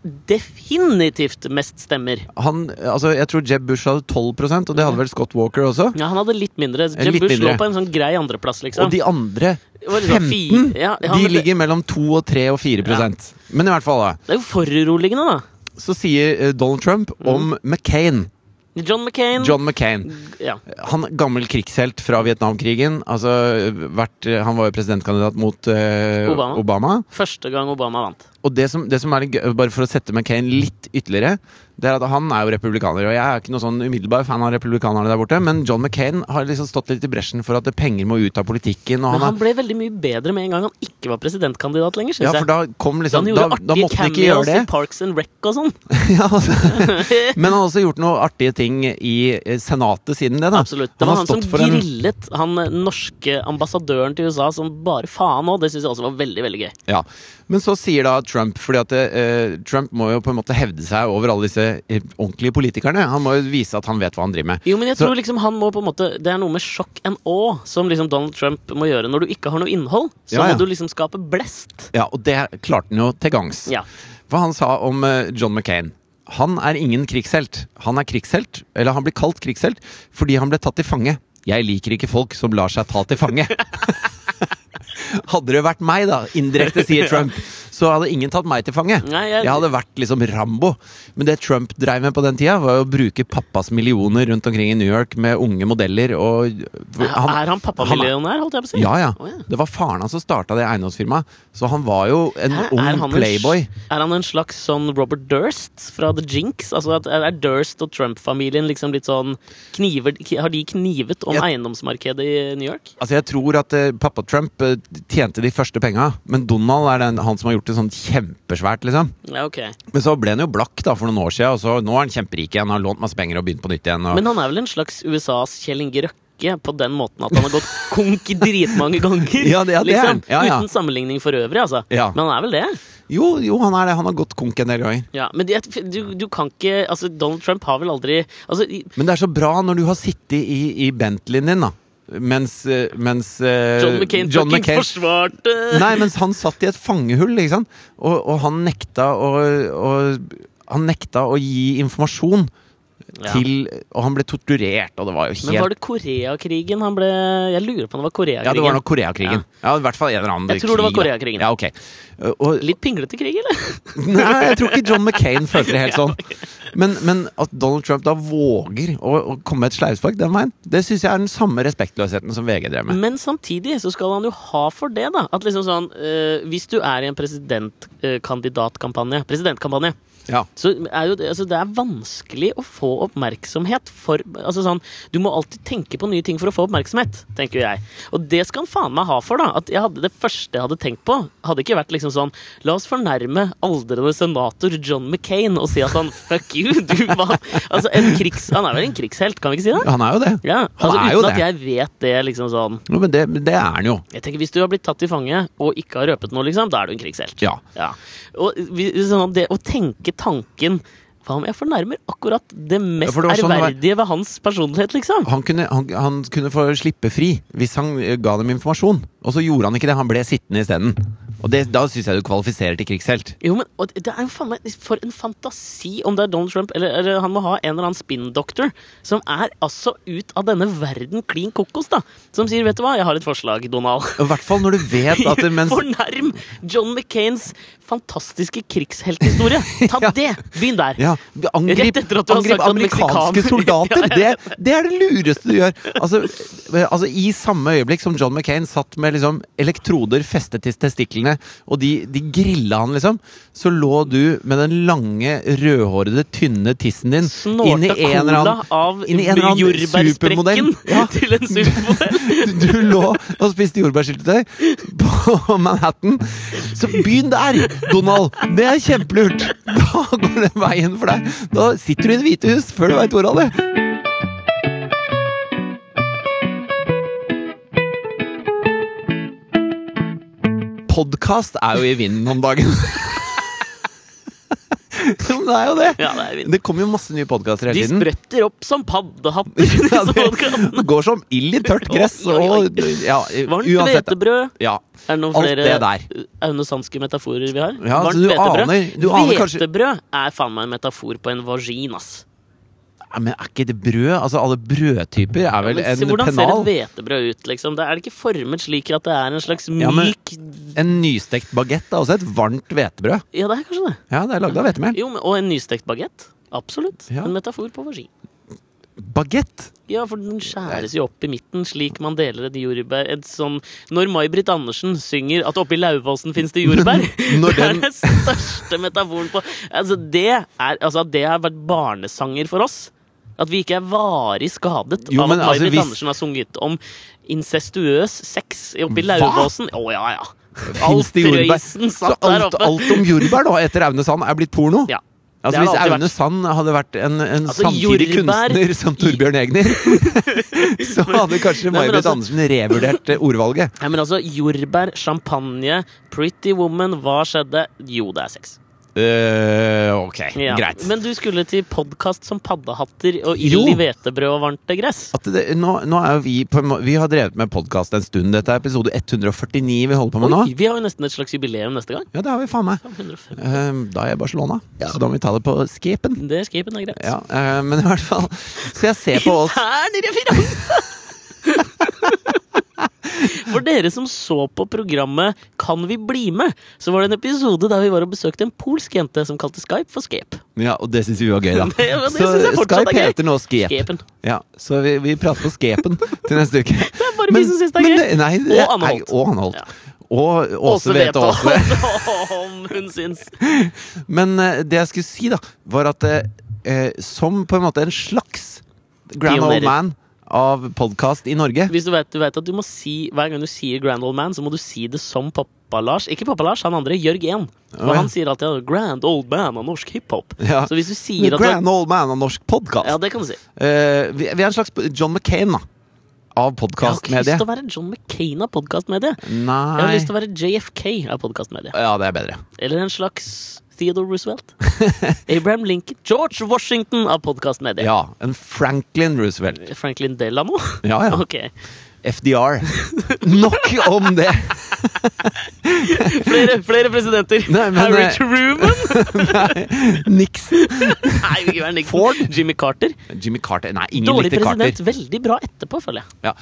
B: definitivt mest stemmer.
A: han, altså, Jeg tror Jeb Bush hadde 12 og det hadde vel Scott Walker også.
B: Ja, han hadde litt mindre. Jeb
A: Eh, litt
B: Bush
A: mindre.
B: lå på en sånn grei andreplass, liksom.
A: Og de andre
B: Det var liksom
A: 15,
B: fi- ja, ja,
A: de
B: men det-
A: ligger mellom 2 og 3 og 4 Men i hvert fall, da.
B: Det er jo foruroligende, da.
A: Så sier eh, Donald Trump
B: Mhm.
A: om McCain.
B: John McCain.
A: John McCain.
B: Ja.
A: Han gammel krigshelt fra Vietnamkrigen. Altså, vært, han var jo presidentkandidat mot eh,
B: Obama.
A: Obama.
B: Første gang Obama vant.
A: Og det som, det som er litt gøy, bare for å sette McCain litt ytterligere, det er at han er jo republikaner. Og jeg er ikke noe sånn umiddelbar fan av republikanerne der borte, men John McCain har liksom stått litt i bresjen for at penger må ut av politikken. Og
B: Men
A: han er,
B: han ble veldig mye bedre med en gang han ikke var presidentkandidat lenger, syns
A: ja,
B: jeg.
A: for da kom
B: Så
A: liksom
B: han
A: Da,
B: gjorde
A: da
B: artige
A: måtte han ikke gjøre
B: cameos i
A: det.
B: Parks and Rec og sånn.
A: ja, altså. Men han har også gjort noen artige ting i eh, Senatet siden det, da.
B: Absolutt. Det var han, som
A: en-
B: grillet han eh, norske ambassadøren til USA som bare faen òg. Det syns jeg også var veldig veldig gøy.
A: Ja, Men så sier da Trump Fordi at eh, Trump må jo på en måte hevde seg over alle disse eh, ordentlige politikerne. Han må jo vise at han vet hva han driver med.
B: Jo, men jeg
A: Så-
B: tror liksom han må på en måte Det er noe med sjokk and awe som liksom Donald Trump må gjøre. Når du ikke har noe innhold, så
A: Ja, ja.
B: må du liksom skape blest.
A: Ja, Og det klarte han jo til gangs.
B: Ja.
A: Hva han sa om eh, John McCain. Han er ingen krigshelt. Han er krigshelt, eller han blir kalt krigshelt, fordi han ble tatt til fange. Jeg liker ikke folk som lar seg ta til fange. Hadde det vært meg, da, indirekte sier Trump, så hadde ingen tatt meg til fange.
B: Nei, jeg-
A: jeg... hadde vært liksom Rambo. Men det Trump dreiv med på den tida, var jo å bruke pappas millioner rundt omkring i New York med unge modeller og
B: er han pappamillionær, holdt jeg på å si?
A: Ja, ja.
B: Å, ja.
A: Det var faren hans som starta det eiendomsfirmaet, så han var jo en
B: Hæ?
A: ung
B: han en
A: playboy.
B: sl- er han en slags sånn Robert Durst fra The Jinx? Altså at Er Durst og Trump-familien liksom litt sånn kniver, Har de knivet om
A: Ja.
B: eiendomsmarkedet i New York?
A: Altså Jeg tror at eh, pappa Trump eh, tjente de første penga, men Donald er den, han som har gjort det sånn kjempesvært. liksom
B: Ja, ok
A: Men så ble han jo blakk da for noen år siden, og så nå er han kjemperik igjen. Har lånt masse penger og begynt på nytt igjen. Og...
B: Men han er vel en slags USAs Kjell Inge Røkke på den måten at han har gått konk dritmange ganger? Liksom,
A: Ja, det- ja, det er han. Ja, ja.
B: Uten sammenligning for øvrig, altså.
A: Ja.
B: Men han er vel det?
A: Jo, jo, han er det. Han har gått konk en del ganger.
B: Ja, men det- du, du kan ikke Altså, Donald Trump har vel aldri altså, i-
A: Men det er så bra når du har sittet i, i Bentleyen din, da. Mens, eh, mens eh,
B: John McCain
A: John
B: fucking
A: McCain-
B: forsvarte
A: Nei, mens han satt i et fangehull, ikke sant? Og, og han nekta å og, Han nekta å gi informasjon
B: Ja.
A: til Og han ble torturert, og det var jo helt
B: Men var det Koreakrigen han ble Jeg lurer på om det var Koreakrigen.
A: Ja, det var nok Koreakrigen. Ja. i hvert fall en eller annen
B: Jeg tror det var
A: krig, da.
B: Koreakrigen.
A: Ja, ok. Uh, Og,
B: Litt pinglete krig, eller?
A: nei, jeg tror ikke John McCain følte det helt sånn. Men, men at Donald Trump da våger å, å komme med et slauspark den veien, det syns jeg er den samme respektløsheten som VG drev med.
B: Men samtidig så skal han jo ha for det, da. At liksom sånn eh, Hvis du er i en presidentkandidatkampanje Presidentkampanje.
A: Ja.
B: Så er jo det, altså det er vanskelig å få oppmerksomhet for altså sånn, Du må alltid tenke på nye ting for å få oppmerksomhet, tenker jeg. Og det skal han faen meg ha for, da. At jeg hadde, det første jeg hadde tenkt på, hadde ikke vært liksom sånn La oss fornærme aldrende senator John McCain og si at han Fuck you! Du var Altså, en krigs... Han er vel en krigshelt, kan vi ikke si det?
A: Han er jo det.
B: Ja,
A: Han
B: altså
A: er jo
B: Uten at
A: det.
B: jeg vet det, liksom sånn
A: Jo, men det, men det er han jo.
B: Jeg tenker, Hvis du har blitt tatt til fange og ikke har røpet noe, liksom, da er du en krigshelt.
A: Ja.
B: Ja. Og vi- sånn, det å tenke tanken Hva om jeg fornærmer akkurat det mest
A: for det var sånn det var.
B: ærverdige ved hans personlighet, liksom?
A: han kunne, han, han kunne få slippe fri hvis han eh, ga dem informasjon. Og så gjorde han ikke det. Han ble sittende isteden. Og det, da syns jeg du kvalifiserer til krigshelt.
B: Jo, men og det er jo faen meg For en fantasi om det er Donald Trump Eller, eller han må ha en eller annen spinndoktor som er altså ut av denne verden klin kokos, da. Som sier 'Vet du hva, jeg har et forslag, Donald'.
A: Og I hvert fall når du vet at det, mens
B: Fornærm John McCains fantastiske krigshelthistorie! Ta det! Begynn der.
A: ja, Angrip,
B: Rett etter at du har
A: angrip
B: sagt at
A: amerikanske
B: meksikaner-
A: soldater! Det, det er det lureste du gjør! Altså, eh, altså I samme øyeblikk som John McCain satt med liksom elektroder festet til testiklene, og de, de grilla han, liksom, så lå du med den lange, rødhårede, tynne tissen din inn i
B: Snorta
A: en eller
B: cola
A: annen
B: av
A: inn i en eller annen
B: jordbærsprekken
A: supermodell. Ja.
B: til en supermodell.
A: du du lå og spiste jordbærsyltetøy på Manhattan. Så begynn der, Donald! Det er kjempelurt! Da går det veien for deg. Da sitter du i Det hvite hus før du veit ordet av det. Podkast er jo i vinden om dagen. Jo, men det er jo det.
B: Ja, det er fint.
A: Det kommer jo masse nye podkaster
B: De
A: hele tiden.
B: spretter opp som paddehatter. i
A: Ja,
B: disse podkastene.
A: det går som ild i tørt gress.
B: Oi, oi, oi.
A: Og, ja,
B: Varmt
A: uansett.
B: hvetebrød.
A: Ja,
B: Er det noen
A: Alt
B: flere
A: det der.
B: aunesanske metaforer vi har?
A: Ja,
B: Varmt
A: så du
B: hvetebrød.
A: aner- du aner kanskje-
B: Hvetebrød er faen meg en metafor på en vagin, ass.
A: Men er ikke det brød? Altså, alle brødtyper er vel
B: Men se,
A: en
B: hvordan
A: pennal?
B: ser et hvetebrød ut, liksom? Det er det ikke formet slik at det er en slags myk
A: Ja,
B: Ja,
A: men- En nystekt bagett er også et varmt hvetebrød.
B: det er kanskje det.
A: Ja, det er lagd av hvetemel.
B: Jo, men, og en nystekt bagett. Absolutt.
A: Ja.
B: En metafor på vagin.
A: Bagett!
B: Ja, for den skjæres jo opp i midten, slik man deler et jordbær et sånn, Når May-Britt Andersen synger at oppi Lauvåsen fins det jordbær
A: Når
B: Det er
A: den-
B: den største metaforen på Altså, det er Altså, at det har vært barnesanger for oss. At vi ikke er varig skadet
A: Jo,
B: av
A: men
B: at
A: altså,
B: May-Britt
A: hvis-
B: Andersen har sunget om incestuøs sex oppi Lauvåsen. Å ja, ja.
A: Finnes
B: Alf
A: det jordbær?
B: Prøysen
A: Så
B: satt der
A: alt,
B: oppe.
A: alt om jordbær da, etter Aune Sand er blitt porno?
B: Ja. Det
A: Altså
B: har
A: Hvis
B: det alltid
A: Aune Sand hadde vært en, en
B: Altså,
A: samtidig
B: jordbær-
A: kunstner som Torbjørn Egner, så hadde kanskje
B: Nei, men
A: May-Britt
B: altså-
A: Andersen revurdert eh, ordvalget.
B: Nei, men altså, jordbær, champagne, Pretty Woman, hva skjedde? Jo, det er sex.
A: Eh, ok,
B: Ja.
A: greit.
B: Men du skulle til podkast som paddehatter og
A: Jo.
B: ild i hvetebrød og varmt gress.
A: At det, nå, nå er jo vi på en må- Vi har drevet med podkast en stund. Dette er episode 149 vi holder på med nå.
B: Oi, vi har jo nesten et slags jubileum neste gang.
A: Ja, det har vi faen meg.
B: 150.
A: Eh, Da er jeg i Barcelona, så da må vi ta det på skipen.
B: Det escapen er greit.
A: Ja, eh, men i hvert fall Så jeg ser på oss
B: Intern referanse! For dere som så på programmet Kan vi bli med?, så var det en episode der vi var og besøkte en polsk jente som kalte Skype for Scape.
A: Ja, og det syns vi var gøy, da.
B: Det- men det
A: Så
B: synes jeg fortsatt er
A: Skype
B: gøy.
A: heter nå Skep.
B: Scapen.
A: Ja, så vi, vi prater på Skepen til neste uke.
B: Det er bare vi som syns det er
A: men
B: gøy.
A: det- Nei, det,
B: Og Anholt.
A: Nei, og Anholt.
B: Ja.
A: Og Åse Wete
B: Veta
A: Aase.
B: om hun syns.
A: Men eh, det jeg skulle si, da, var at eh, eh, som på en måte en slags grand
B: Pionerer.
A: old man av podkast i Norge
B: Hvis du vet, du vet at du må si Hver gang du sier Grand Old Man, så må du si det som pappa Lars. Ikke pappa Lars, han andre. Jørg 1. For
A: Å, ja.
B: han sier alltid 'Grand Old Man' av norsk hiphop.
A: Ja.
B: Så hvis du sier
A: The
B: at du,
A: grand old man av norsk podkast.
B: Ja, det kan du si.
A: Eh, vi, vi er en slags John McCain, da. Av
B: Jeg har ikke lyst
A: podkastmediet.
B: til å være John McCain av podkastmediet. Jeg har
A: Nei
B: lyst til å være JFK av podkastmediet.
A: Ja, det er bedre.
B: Eller en slags Theodore Roosevelt. Abraham Lincoln. George Washington av podkastmediet.
A: Ja. En Franklin Roosevelt.
B: Franklin Delano?
A: Ja, ja.
B: Ok.
A: FDR. Nok om det!
B: Flere, flere presidenter.
A: Nei, men,
B: Harry
A: eh,
B: Truman.
A: Nixon.
B: Nei, vi kan være Nixon.
A: Ford.
B: Jimmy Carter.
A: Jimmy Carter. Nei, ingen
B: Dårlig
A: likte
B: president,
A: Carter.
B: veldig bra etterpå, føler jeg.
A: Ja.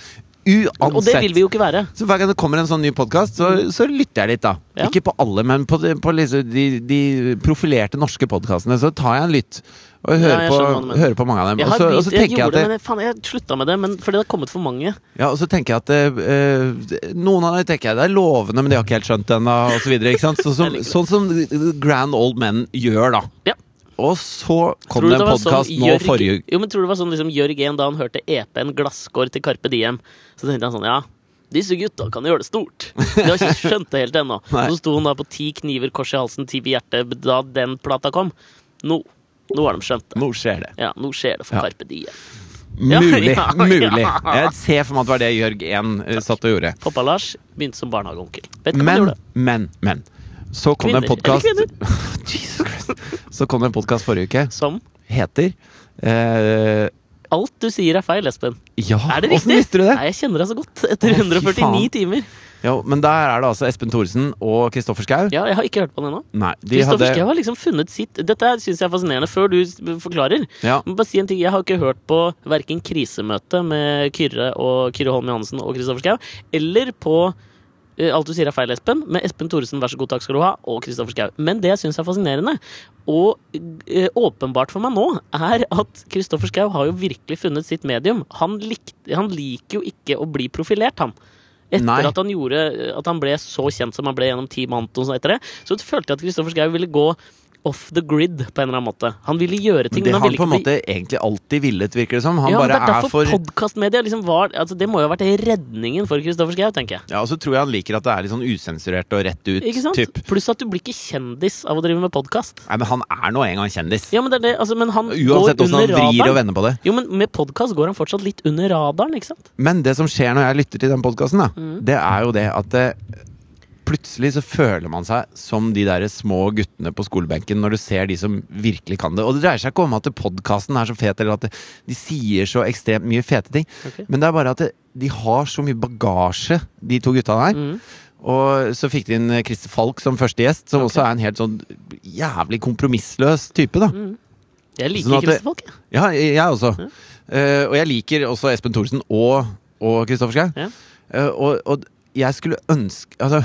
B: Og det vil
A: Uansett.
B: vi jo ikke være.
A: Så hver gang det kommer en sånn ny podkast, så, så lytter jeg litt, da.
B: Ja.
A: Ikke på alle, men på, de- på liksom de, de profilerte norske podkastene. Så tar jeg en lytt, og jeg
B: Ja,
A: hører,
B: jeg skjønner hva du
A: på,
B: mener.
A: hører på mange av dem.
B: Jeg
A: Og
B: har
A: så, og
B: begynt,
A: så
B: jeg
A: tenker jeg at
B: gjorde det,
A: det,
B: men jeg, faen, jeg slutta med det men fordi det har kommet for mange.
A: ja, og så tenker jeg at det, eh, Noen av dem tenker jeg det er lovende, men de har ikke helt skjønt det ennå, og så videre. Ikke sant? Så, som,
B: Jeg liker
A: sånn som Grand Old Men gjør, da.
B: Ja.
A: Og så kom
B: Tror du
A: det en
B: var
A: podkast
B: sånn
A: nå
B: Jørg-
A: forrige uke.
B: Jo, men tror du det var sånn liksom, Jørg 1 da han hørte EP-en Glasskår til Carpe Diem, så tenkte han sånn ja, disse gutta kan gjøre det stort. De har ikke skjønt det helt ennå.
A: Nei.
B: Så sto han da på ti kniver, kors i halsen, ti på hjertet da den plata kom. Nå, nå har de skjønt det.
A: Nå skjer det.
B: Ja, nå skjer det for
A: Ja.
B: Carpe Diem. Ja,
A: Mulig.
B: ja,
A: Mulig.
B: ja.
A: Jeg ser for meg at det var det Jørg 1 satt og gjorde.
B: Pappa Lars begynte som barnehageonkel. Vet ikke hva han
A: Men,
B: gjorde.
A: men, men Så kom det en
B: Kvinner,
A: podcast
B: eller
A: Jesus Christ Så kom det en podcast forrige uke
B: Som
A: Heter eh,
B: alt du sier er feil, Espen.
A: Ja,
B: Er det
A: hvordan
B: riktig?
A: visste du det?
B: Nei, jeg kjenner deg så godt.
A: Å,
B: Etter
A: fy
B: 149
A: faen.
B: timer.
A: Jo, men der er det altså Espen Thoresen og Kristoffer Skau
B: Ja, jeg har ikke hørt på den ennå.
A: Nei, de
B: Kristoffer
A: hadde
B: Schau har liksom funnet sitt Dette syns jeg er fascinerende. Før du s- forklarer,
A: ja,
B: jeg må bare si en ting. Jeg har ikke hørt på verken krisemøtet med Kyrre og Kyrre Holm Johansen og Kristoffer Schau, eller på eh, Alt du sier er feil, Espen, med Espen Thoresen, vær så god, takk skal du ha, og Kristoffer Schau. Men det jeg syns er fascinerende, og eh, åpenbart for meg nå, er at Kristoffer Schau har jo virkelig funnet sitt medium. Han, likte, han liker jo ikke å bli profilert, han. Etter
A: Nei.
B: at han gjorde At han ble så kjent som han ble gjennom Team Anton og sånn etter det, så følte jeg at Kristoffer Schau ville gå off the grid på en eller annen måte. Han ville gjøre ting,
A: men det
B: men han
A: han
B: ville
A: på en
B: ikke bli
A: måte egentlig alltid villet, virker det som Han
B: ja,
A: bare
B: det er
A: er,
B: derfor
A: for
B: podcastmedia liksom var altså Det må jo ha vært redningen for Kristoffer Schau, tenker jeg.
A: Ja, og så tror jeg han liker at det er litt sånn usensurert og rett ut
B: Ikke sant?
A: typ.
B: Pluss at du blir ikke kjendis av å drive med podkast.
A: Nei, men han er nå en gang kjendis
B: Ja, men det er det, altså, men han
A: Uansett
B: går
A: hvordan han
B: under
A: vrir og
B: radaren.
A: vender på det
B: Jo, men med podkast går han fortsatt litt under radaren, ikke sant?
A: Men det som skjer når jeg lytter til den podkasten, det er jo det at det, plutselig så føler man seg som de der små guttene på skolebenken når du ser de som virkelig kan det. Og det dreier seg ikke om at podkasten er så fet, eller at det, de sier så ekstremt mye fete ting,
B: Ok.
A: men det er bare at det, de har så mye bagasje, de to gutta der. Og så fikk de inn Christer Falk som første gjest, som også er en helt sånn jævlig kompromissløs type, da.
B: Jeg liker
A: Sånn at det-
B: Kristoffer Folk. jeg.
A: Ja, jeg jeg også. Eh, og jeg liker også Espen Thorsen og, og Kristoffer Schau.
B: Ja.
A: Eh, og, og jeg skulle ønske Altså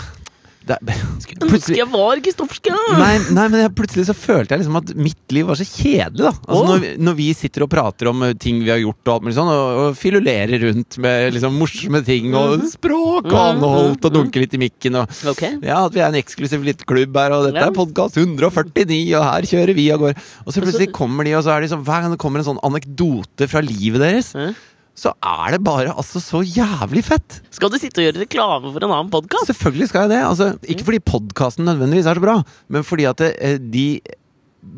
A: det, er-
B: Ønsker jeg var Kristoffer Schau!
A: nei, nei, men jeg, plutselig så følte jeg liksom at mitt liv var så kjedelig, da. Altså,
B: Åh.
A: når, vi- når vi sitter og prater om eh, ting vi har gjort og alt mulig sånn, og, og filulerer rundt med liksom morsomme ting
B: Mm.
A: og språk og
B: Mhm.
A: anholdt og dunker litt i mikken og
B: Ok.
A: ja, at vi er en eksklusiv liten klubb her, og dette
B: Ja.
A: er podkast 149, og her kjører vi av gårde. Og så plutselig kommer de, og så er de sånn Hver gang det kommer en sånn anekdote fra livet deres,
B: Ja.
A: så er det bare altså så jævlig fett!
B: Skal du sitte og gjøre reklame for en annen podkast?
A: Selvfølgelig skal jeg det. Altså, ikke fordi podkasten nødvendigvis er så bra, men fordi at det, eh, de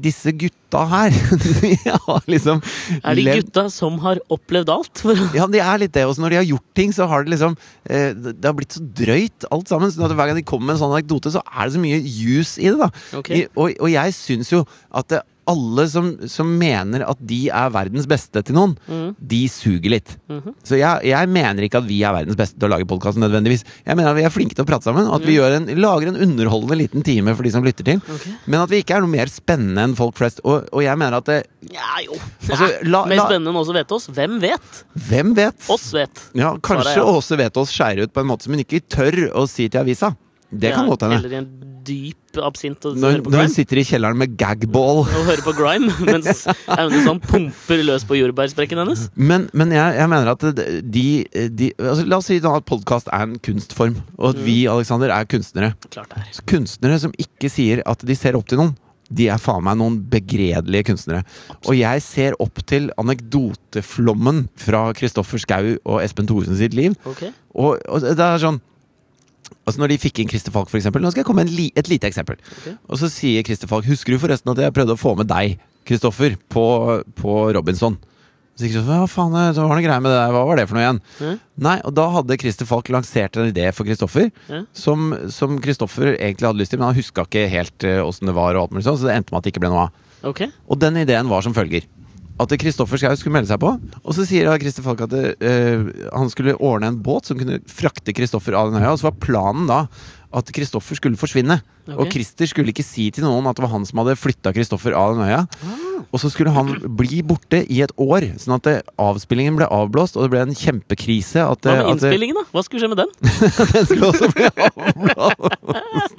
A: disse gutta her, de har liksom
B: Er det
A: levd-
B: gutta som har opplevd alt? For,
A: Ja, det er litt det. Og så når de har gjort ting, så har det liksom eh, Det det har blitt så drøyt alt sammen. Så hver gang de kommer med en sånn anekdote, så er det så mye juice i det, da.
B: Ok.
A: I, og, og jeg syns jo at det, alle som, som mener at de er verdens beste til noen,
B: Mm.
A: de suger litt.
B: Mhm.
A: Så jeg, jeg mener ikke at vi er verdens beste til å lage podkast nødvendigvis. Jeg mener at vi er flinke til å prate sammen, og at vi gjør en, lager en underholdende liten time for de som lytter til.
B: Mm. Ok.
A: Men at vi ikke er noe mer spennende enn folk flest. Og, og jeg mener at eh, det,
B: ja, jo.
A: Altså, la-
B: Mer
A: la-
B: spennende enn oss vet oss. Hvem vet?
A: Hvem vet?
B: Oss vet.
A: Ja, kanskje
B: Svaret er ja.
A: Åse Vetås skeier ut på en måte som hun ikke tør å si til avisa. Det kan
B: Ja,
A: godt hende.
B: Eller i en dyp absint og
A: Når,
B: hører på
A: når hun
B: grime.
A: sitter i kjelleren med gagball.
B: Og hører på grime mens Aune pumper løs på jordbærsprekken hennes.
A: Men, men jeg, jeg mener at det- de, de altså, La oss si da at podkast er en kunstform, og
B: Mm.
A: at vi Alexander, er kunstnere.
B: Klart det er.
A: Så kunstnere som ikke sier at de ser opp til noen, de er faen meg noen begredelige kunstnere. Og jeg ser opp til anekdoteflommen fra Kristoffer Schou og Espen Thoresen sitt liv.
B: Ok.
A: Og, og det er sånn Altså Når de fikk inn Christer Falk, for eksempel Nå skal jeg komme med en li, et lite eksempel.
B: Ok.
A: Og så sier Christer Falk Husker du forresten at jeg prøvde å få med deg, Kristoffer, på, på Robinson? Så sier Kristoffer, Hva faen, det var noe greier med det der, hva var det for noe igjen?
B: Hæ?
A: Nei, og da hadde Christer Falk lansert en idé for Kristoffer,
B: Ja.
A: som som Kristoffer egentlig hadde lyst til, men han huska ikke helt eh, åssen det var, og alt mulig sånn, så det endte med at det ikke ble noe av.
B: Ok.
A: Og den ideen var som følger. At Kristoffer Schau skulle melde seg på. Og så sier da Christer Falk at eh, han skulle ordne en båt som kunne frakte Kristoffer av den øya. Og så var planen da at Kristoffer skulle forsvinne.
B: Ok.
A: Og Christer skulle ikke si til noen at det var han som hadde flytta Kristoffer av den øya. Og så skulle han bli borte i et år, sånn at eh, avspillingen ble avblåst, og det ble en kjempekrise. At,
B: Hva
A: eh, at
B: med
A: det-
B: innspillingen, da? Hva skulle skje med den?
A: den skulle også bli avblåst.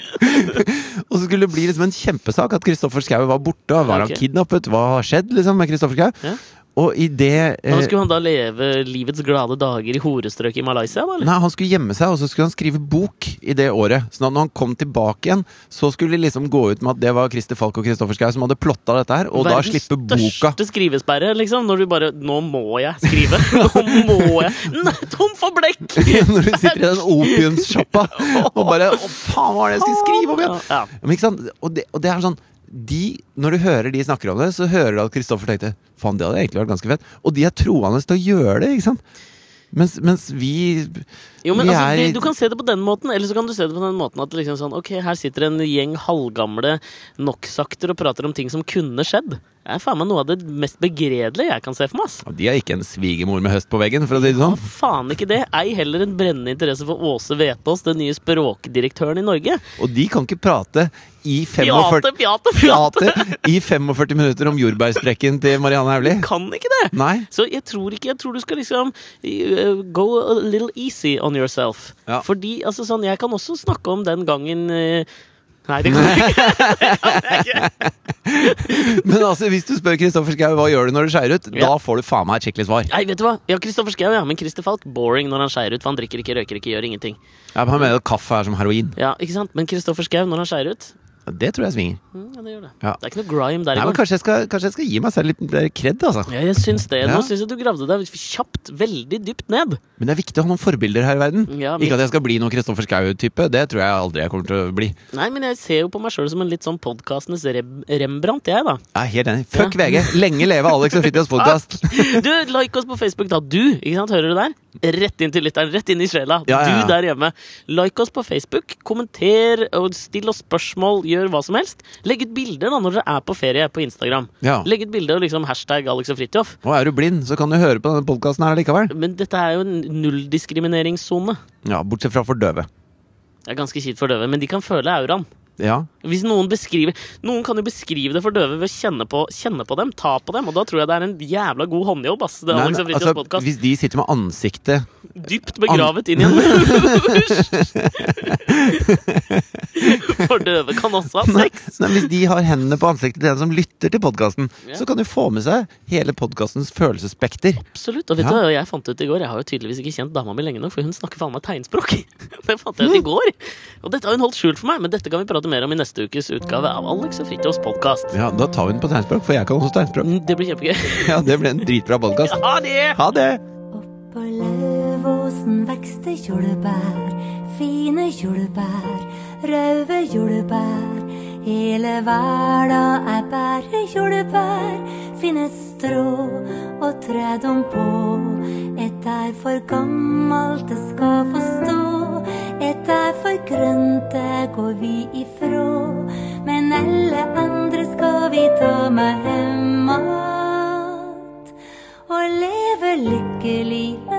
A: og så skulle det bli liksom en kjempesak at Kristoffer Schou var borte. og Var han
B: Ok.
A: kidnappet? Hva har skjedd liksom, med Kristoffer Schou?
B: Ja.
A: Og i det
B: Nå
A: eh,
B: skulle han da leve livets glade dager i horestrøket i Malaysia, da? Eller?
A: Nei, Han skulle gjemme seg, og så skulle han skrive bok i det året. Sånn at når han kom tilbake igjen, så skulle de liksom gå ut med at det var Christer Falk og Kristoffer Schou som hadde plotta dette her, og da slippe boka.
B: største skrivesperre, liksom. Når du bare 'Nå må jeg skrive'. Nå må jeg Nei, Tom for blekk!
A: Når du sitter i den opiumssjappa og bare Å, faen, hva var det jeg skulle skrive om igjen?
B: Ja.
A: Ja, Men ikke sant? Og det, og det er sånn de, Når du hører de snakker om det, så hører du at Kristoffer tenkte Faen, det hadde egentlig vært ganske fett. Og de er troende til å gjøre det, ikke sant? Mens, mens vi
B: Jo, men
A: Vi
B: altså,
A: er i-
B: det, Du kan se det på den måten, eller så kan du se det på den måten at det liksom sånn, ok, her sitter en gjeng halvgamle noksakter og prater om ting som kunne skjedd. Det er faen meg noe av det mest begredelige jeg kan se for meg. ass.
A: Ja, De er ikke en svigermor med høst på veggen, for å si det sånn.
B: Faen ikke det. Ei heller en brennende interesse for Åse Vetås, den nye språkdirektøren i Norge.
A: Og de kan ikke prate i 45,
B: Pjate, pjate, pjate!
A: prate i 45 minutter om jordbærsprekken til Marianne Hauglie.
B: Kan ikke det!
A: Nei.
B: Så jeg tror ikke Jeg tror du skal liksom eh, Go a little easy on yourself.
A: Ja.
B: Fordi altså sånn Jeg kan også snakke om den gangen eh, Nei, det kan jeg ikke.
A: Men altså, hvis du spør Kristoffer Schau hva gjør du når du skeier ut, da
B: Ja.
A: får du faen meg et skikkelig svar.
B: Nei, vet du hva? Ja, Kristoffer Schau, ja. Men Christer Falk, boring når han skeier ut. For han drikker ikke, røyker ikke, gjør ingenting.
A: Ja, men Han mener at kaffe er som heroin.
B: Ja, ikke sant? Men Kristoffer Schau, når han skeier ut
A: Ja, Det tror jeg svinger.
B: mm, Ja, det gjør det.
A: Ja.
B: Det er ikke noe grime der
A: Nei,
B: i
A: men
B: gang.
A: kanskje jeg, skal, kanskje jeg skal gi meg selv litt mer kred, altså.
B: Ja, jeg syns det.
A: Ja.
B: Nå syns jeg du gravde deg kjapt veldig dypt ned.
A: Men det er viktig å ha noen forbilder her i verden.
B: Ja,
A: Ikke at jeg skal bli noen Kristoffer Schou-type. Det tror jeg aldri jeg kommer til å bli.
B: Nei, men jeg ser jo på meg sjøl som en litt sånn podkastenes Rem Rembrandt, jeg, da.
A: Jeg er helt enig. Fuck VG! Lenge leve Alex og Fritjofs podkast!
B: Du, like oss på Facebook, da. Du, ikke sant, hører du der? Rett inn til lytteren, rett inn i sjela.
A: Ja, ja, ja.
B: Du der hjemme. Like oss på Facebook, kommenter, og still oss spørsmål, gjør hva som helst. Legg ut bilder da når dere er på ferie på Instagram.
A: Ja.
B: Legg ut bilde og liksom hashtag Alex og Fridtjof.
A: Og er du blind, så kan du høre på denne podkasten her likevel.
B: Men dette er jo en nulldiskrimineringssone.
A: Ja, bortsett fra for døve.
B: Det er ganske kjipt for døve, men de kan føle auraen.
A: Ja.
B: Hvis noen beskriver Noen kan jo beskrive det for døve ved å kjenne på, kjenne på dem, ta på dem, og da tror jeg det er en jævla god håndjobb, ass. Det er
A: Nei,
B: Alex og
A: men,
B: Fridtjofs
A: altså,
B: podcast.
A: hvis de sitter med ansiktet
B: Dypt begravet inn i en For døve kan også ha
A: Nei,
B: sex.
A: nei, Hvis de har hendene på ansiktet til den som lytter til podkasten,
B: Ja.
A: så kan du få med seg hele podkastens følelsesspekter.
B: Absolutt. Og vet du
A: Ja.
B: hva jeg fant ut i går? Jeg har jo tydeligvis ikke kjent dama mi lenge nok, for hun snakker faen meg tegnspråk. Det fant
A: Mm.
B: jeg ut i går. Og dette har hun holdt skjult for meg, men dette kan vi prate mer om i neste ukes utgave av Alex og Fridtjofs podkast.
A: Ja, Da tar vi den på tegnspråk, for jeg kan også tegnspråk.
B: Det blir kjempegøy.
A: Ja, Det ble en dritbra podkast.
B: Ha det!
A: Ha det!
C: Oppå Lauvåsen vokste jordbær, fine jordbær, røde jordbær. Hele verda er bare jordbær, finnes strå og tre dem på. Et er for gammelt, det skal få stå. Et er for grønt, det går vi ifrå. Men alle andre skal vi ta med hjem att og leve lykkelig med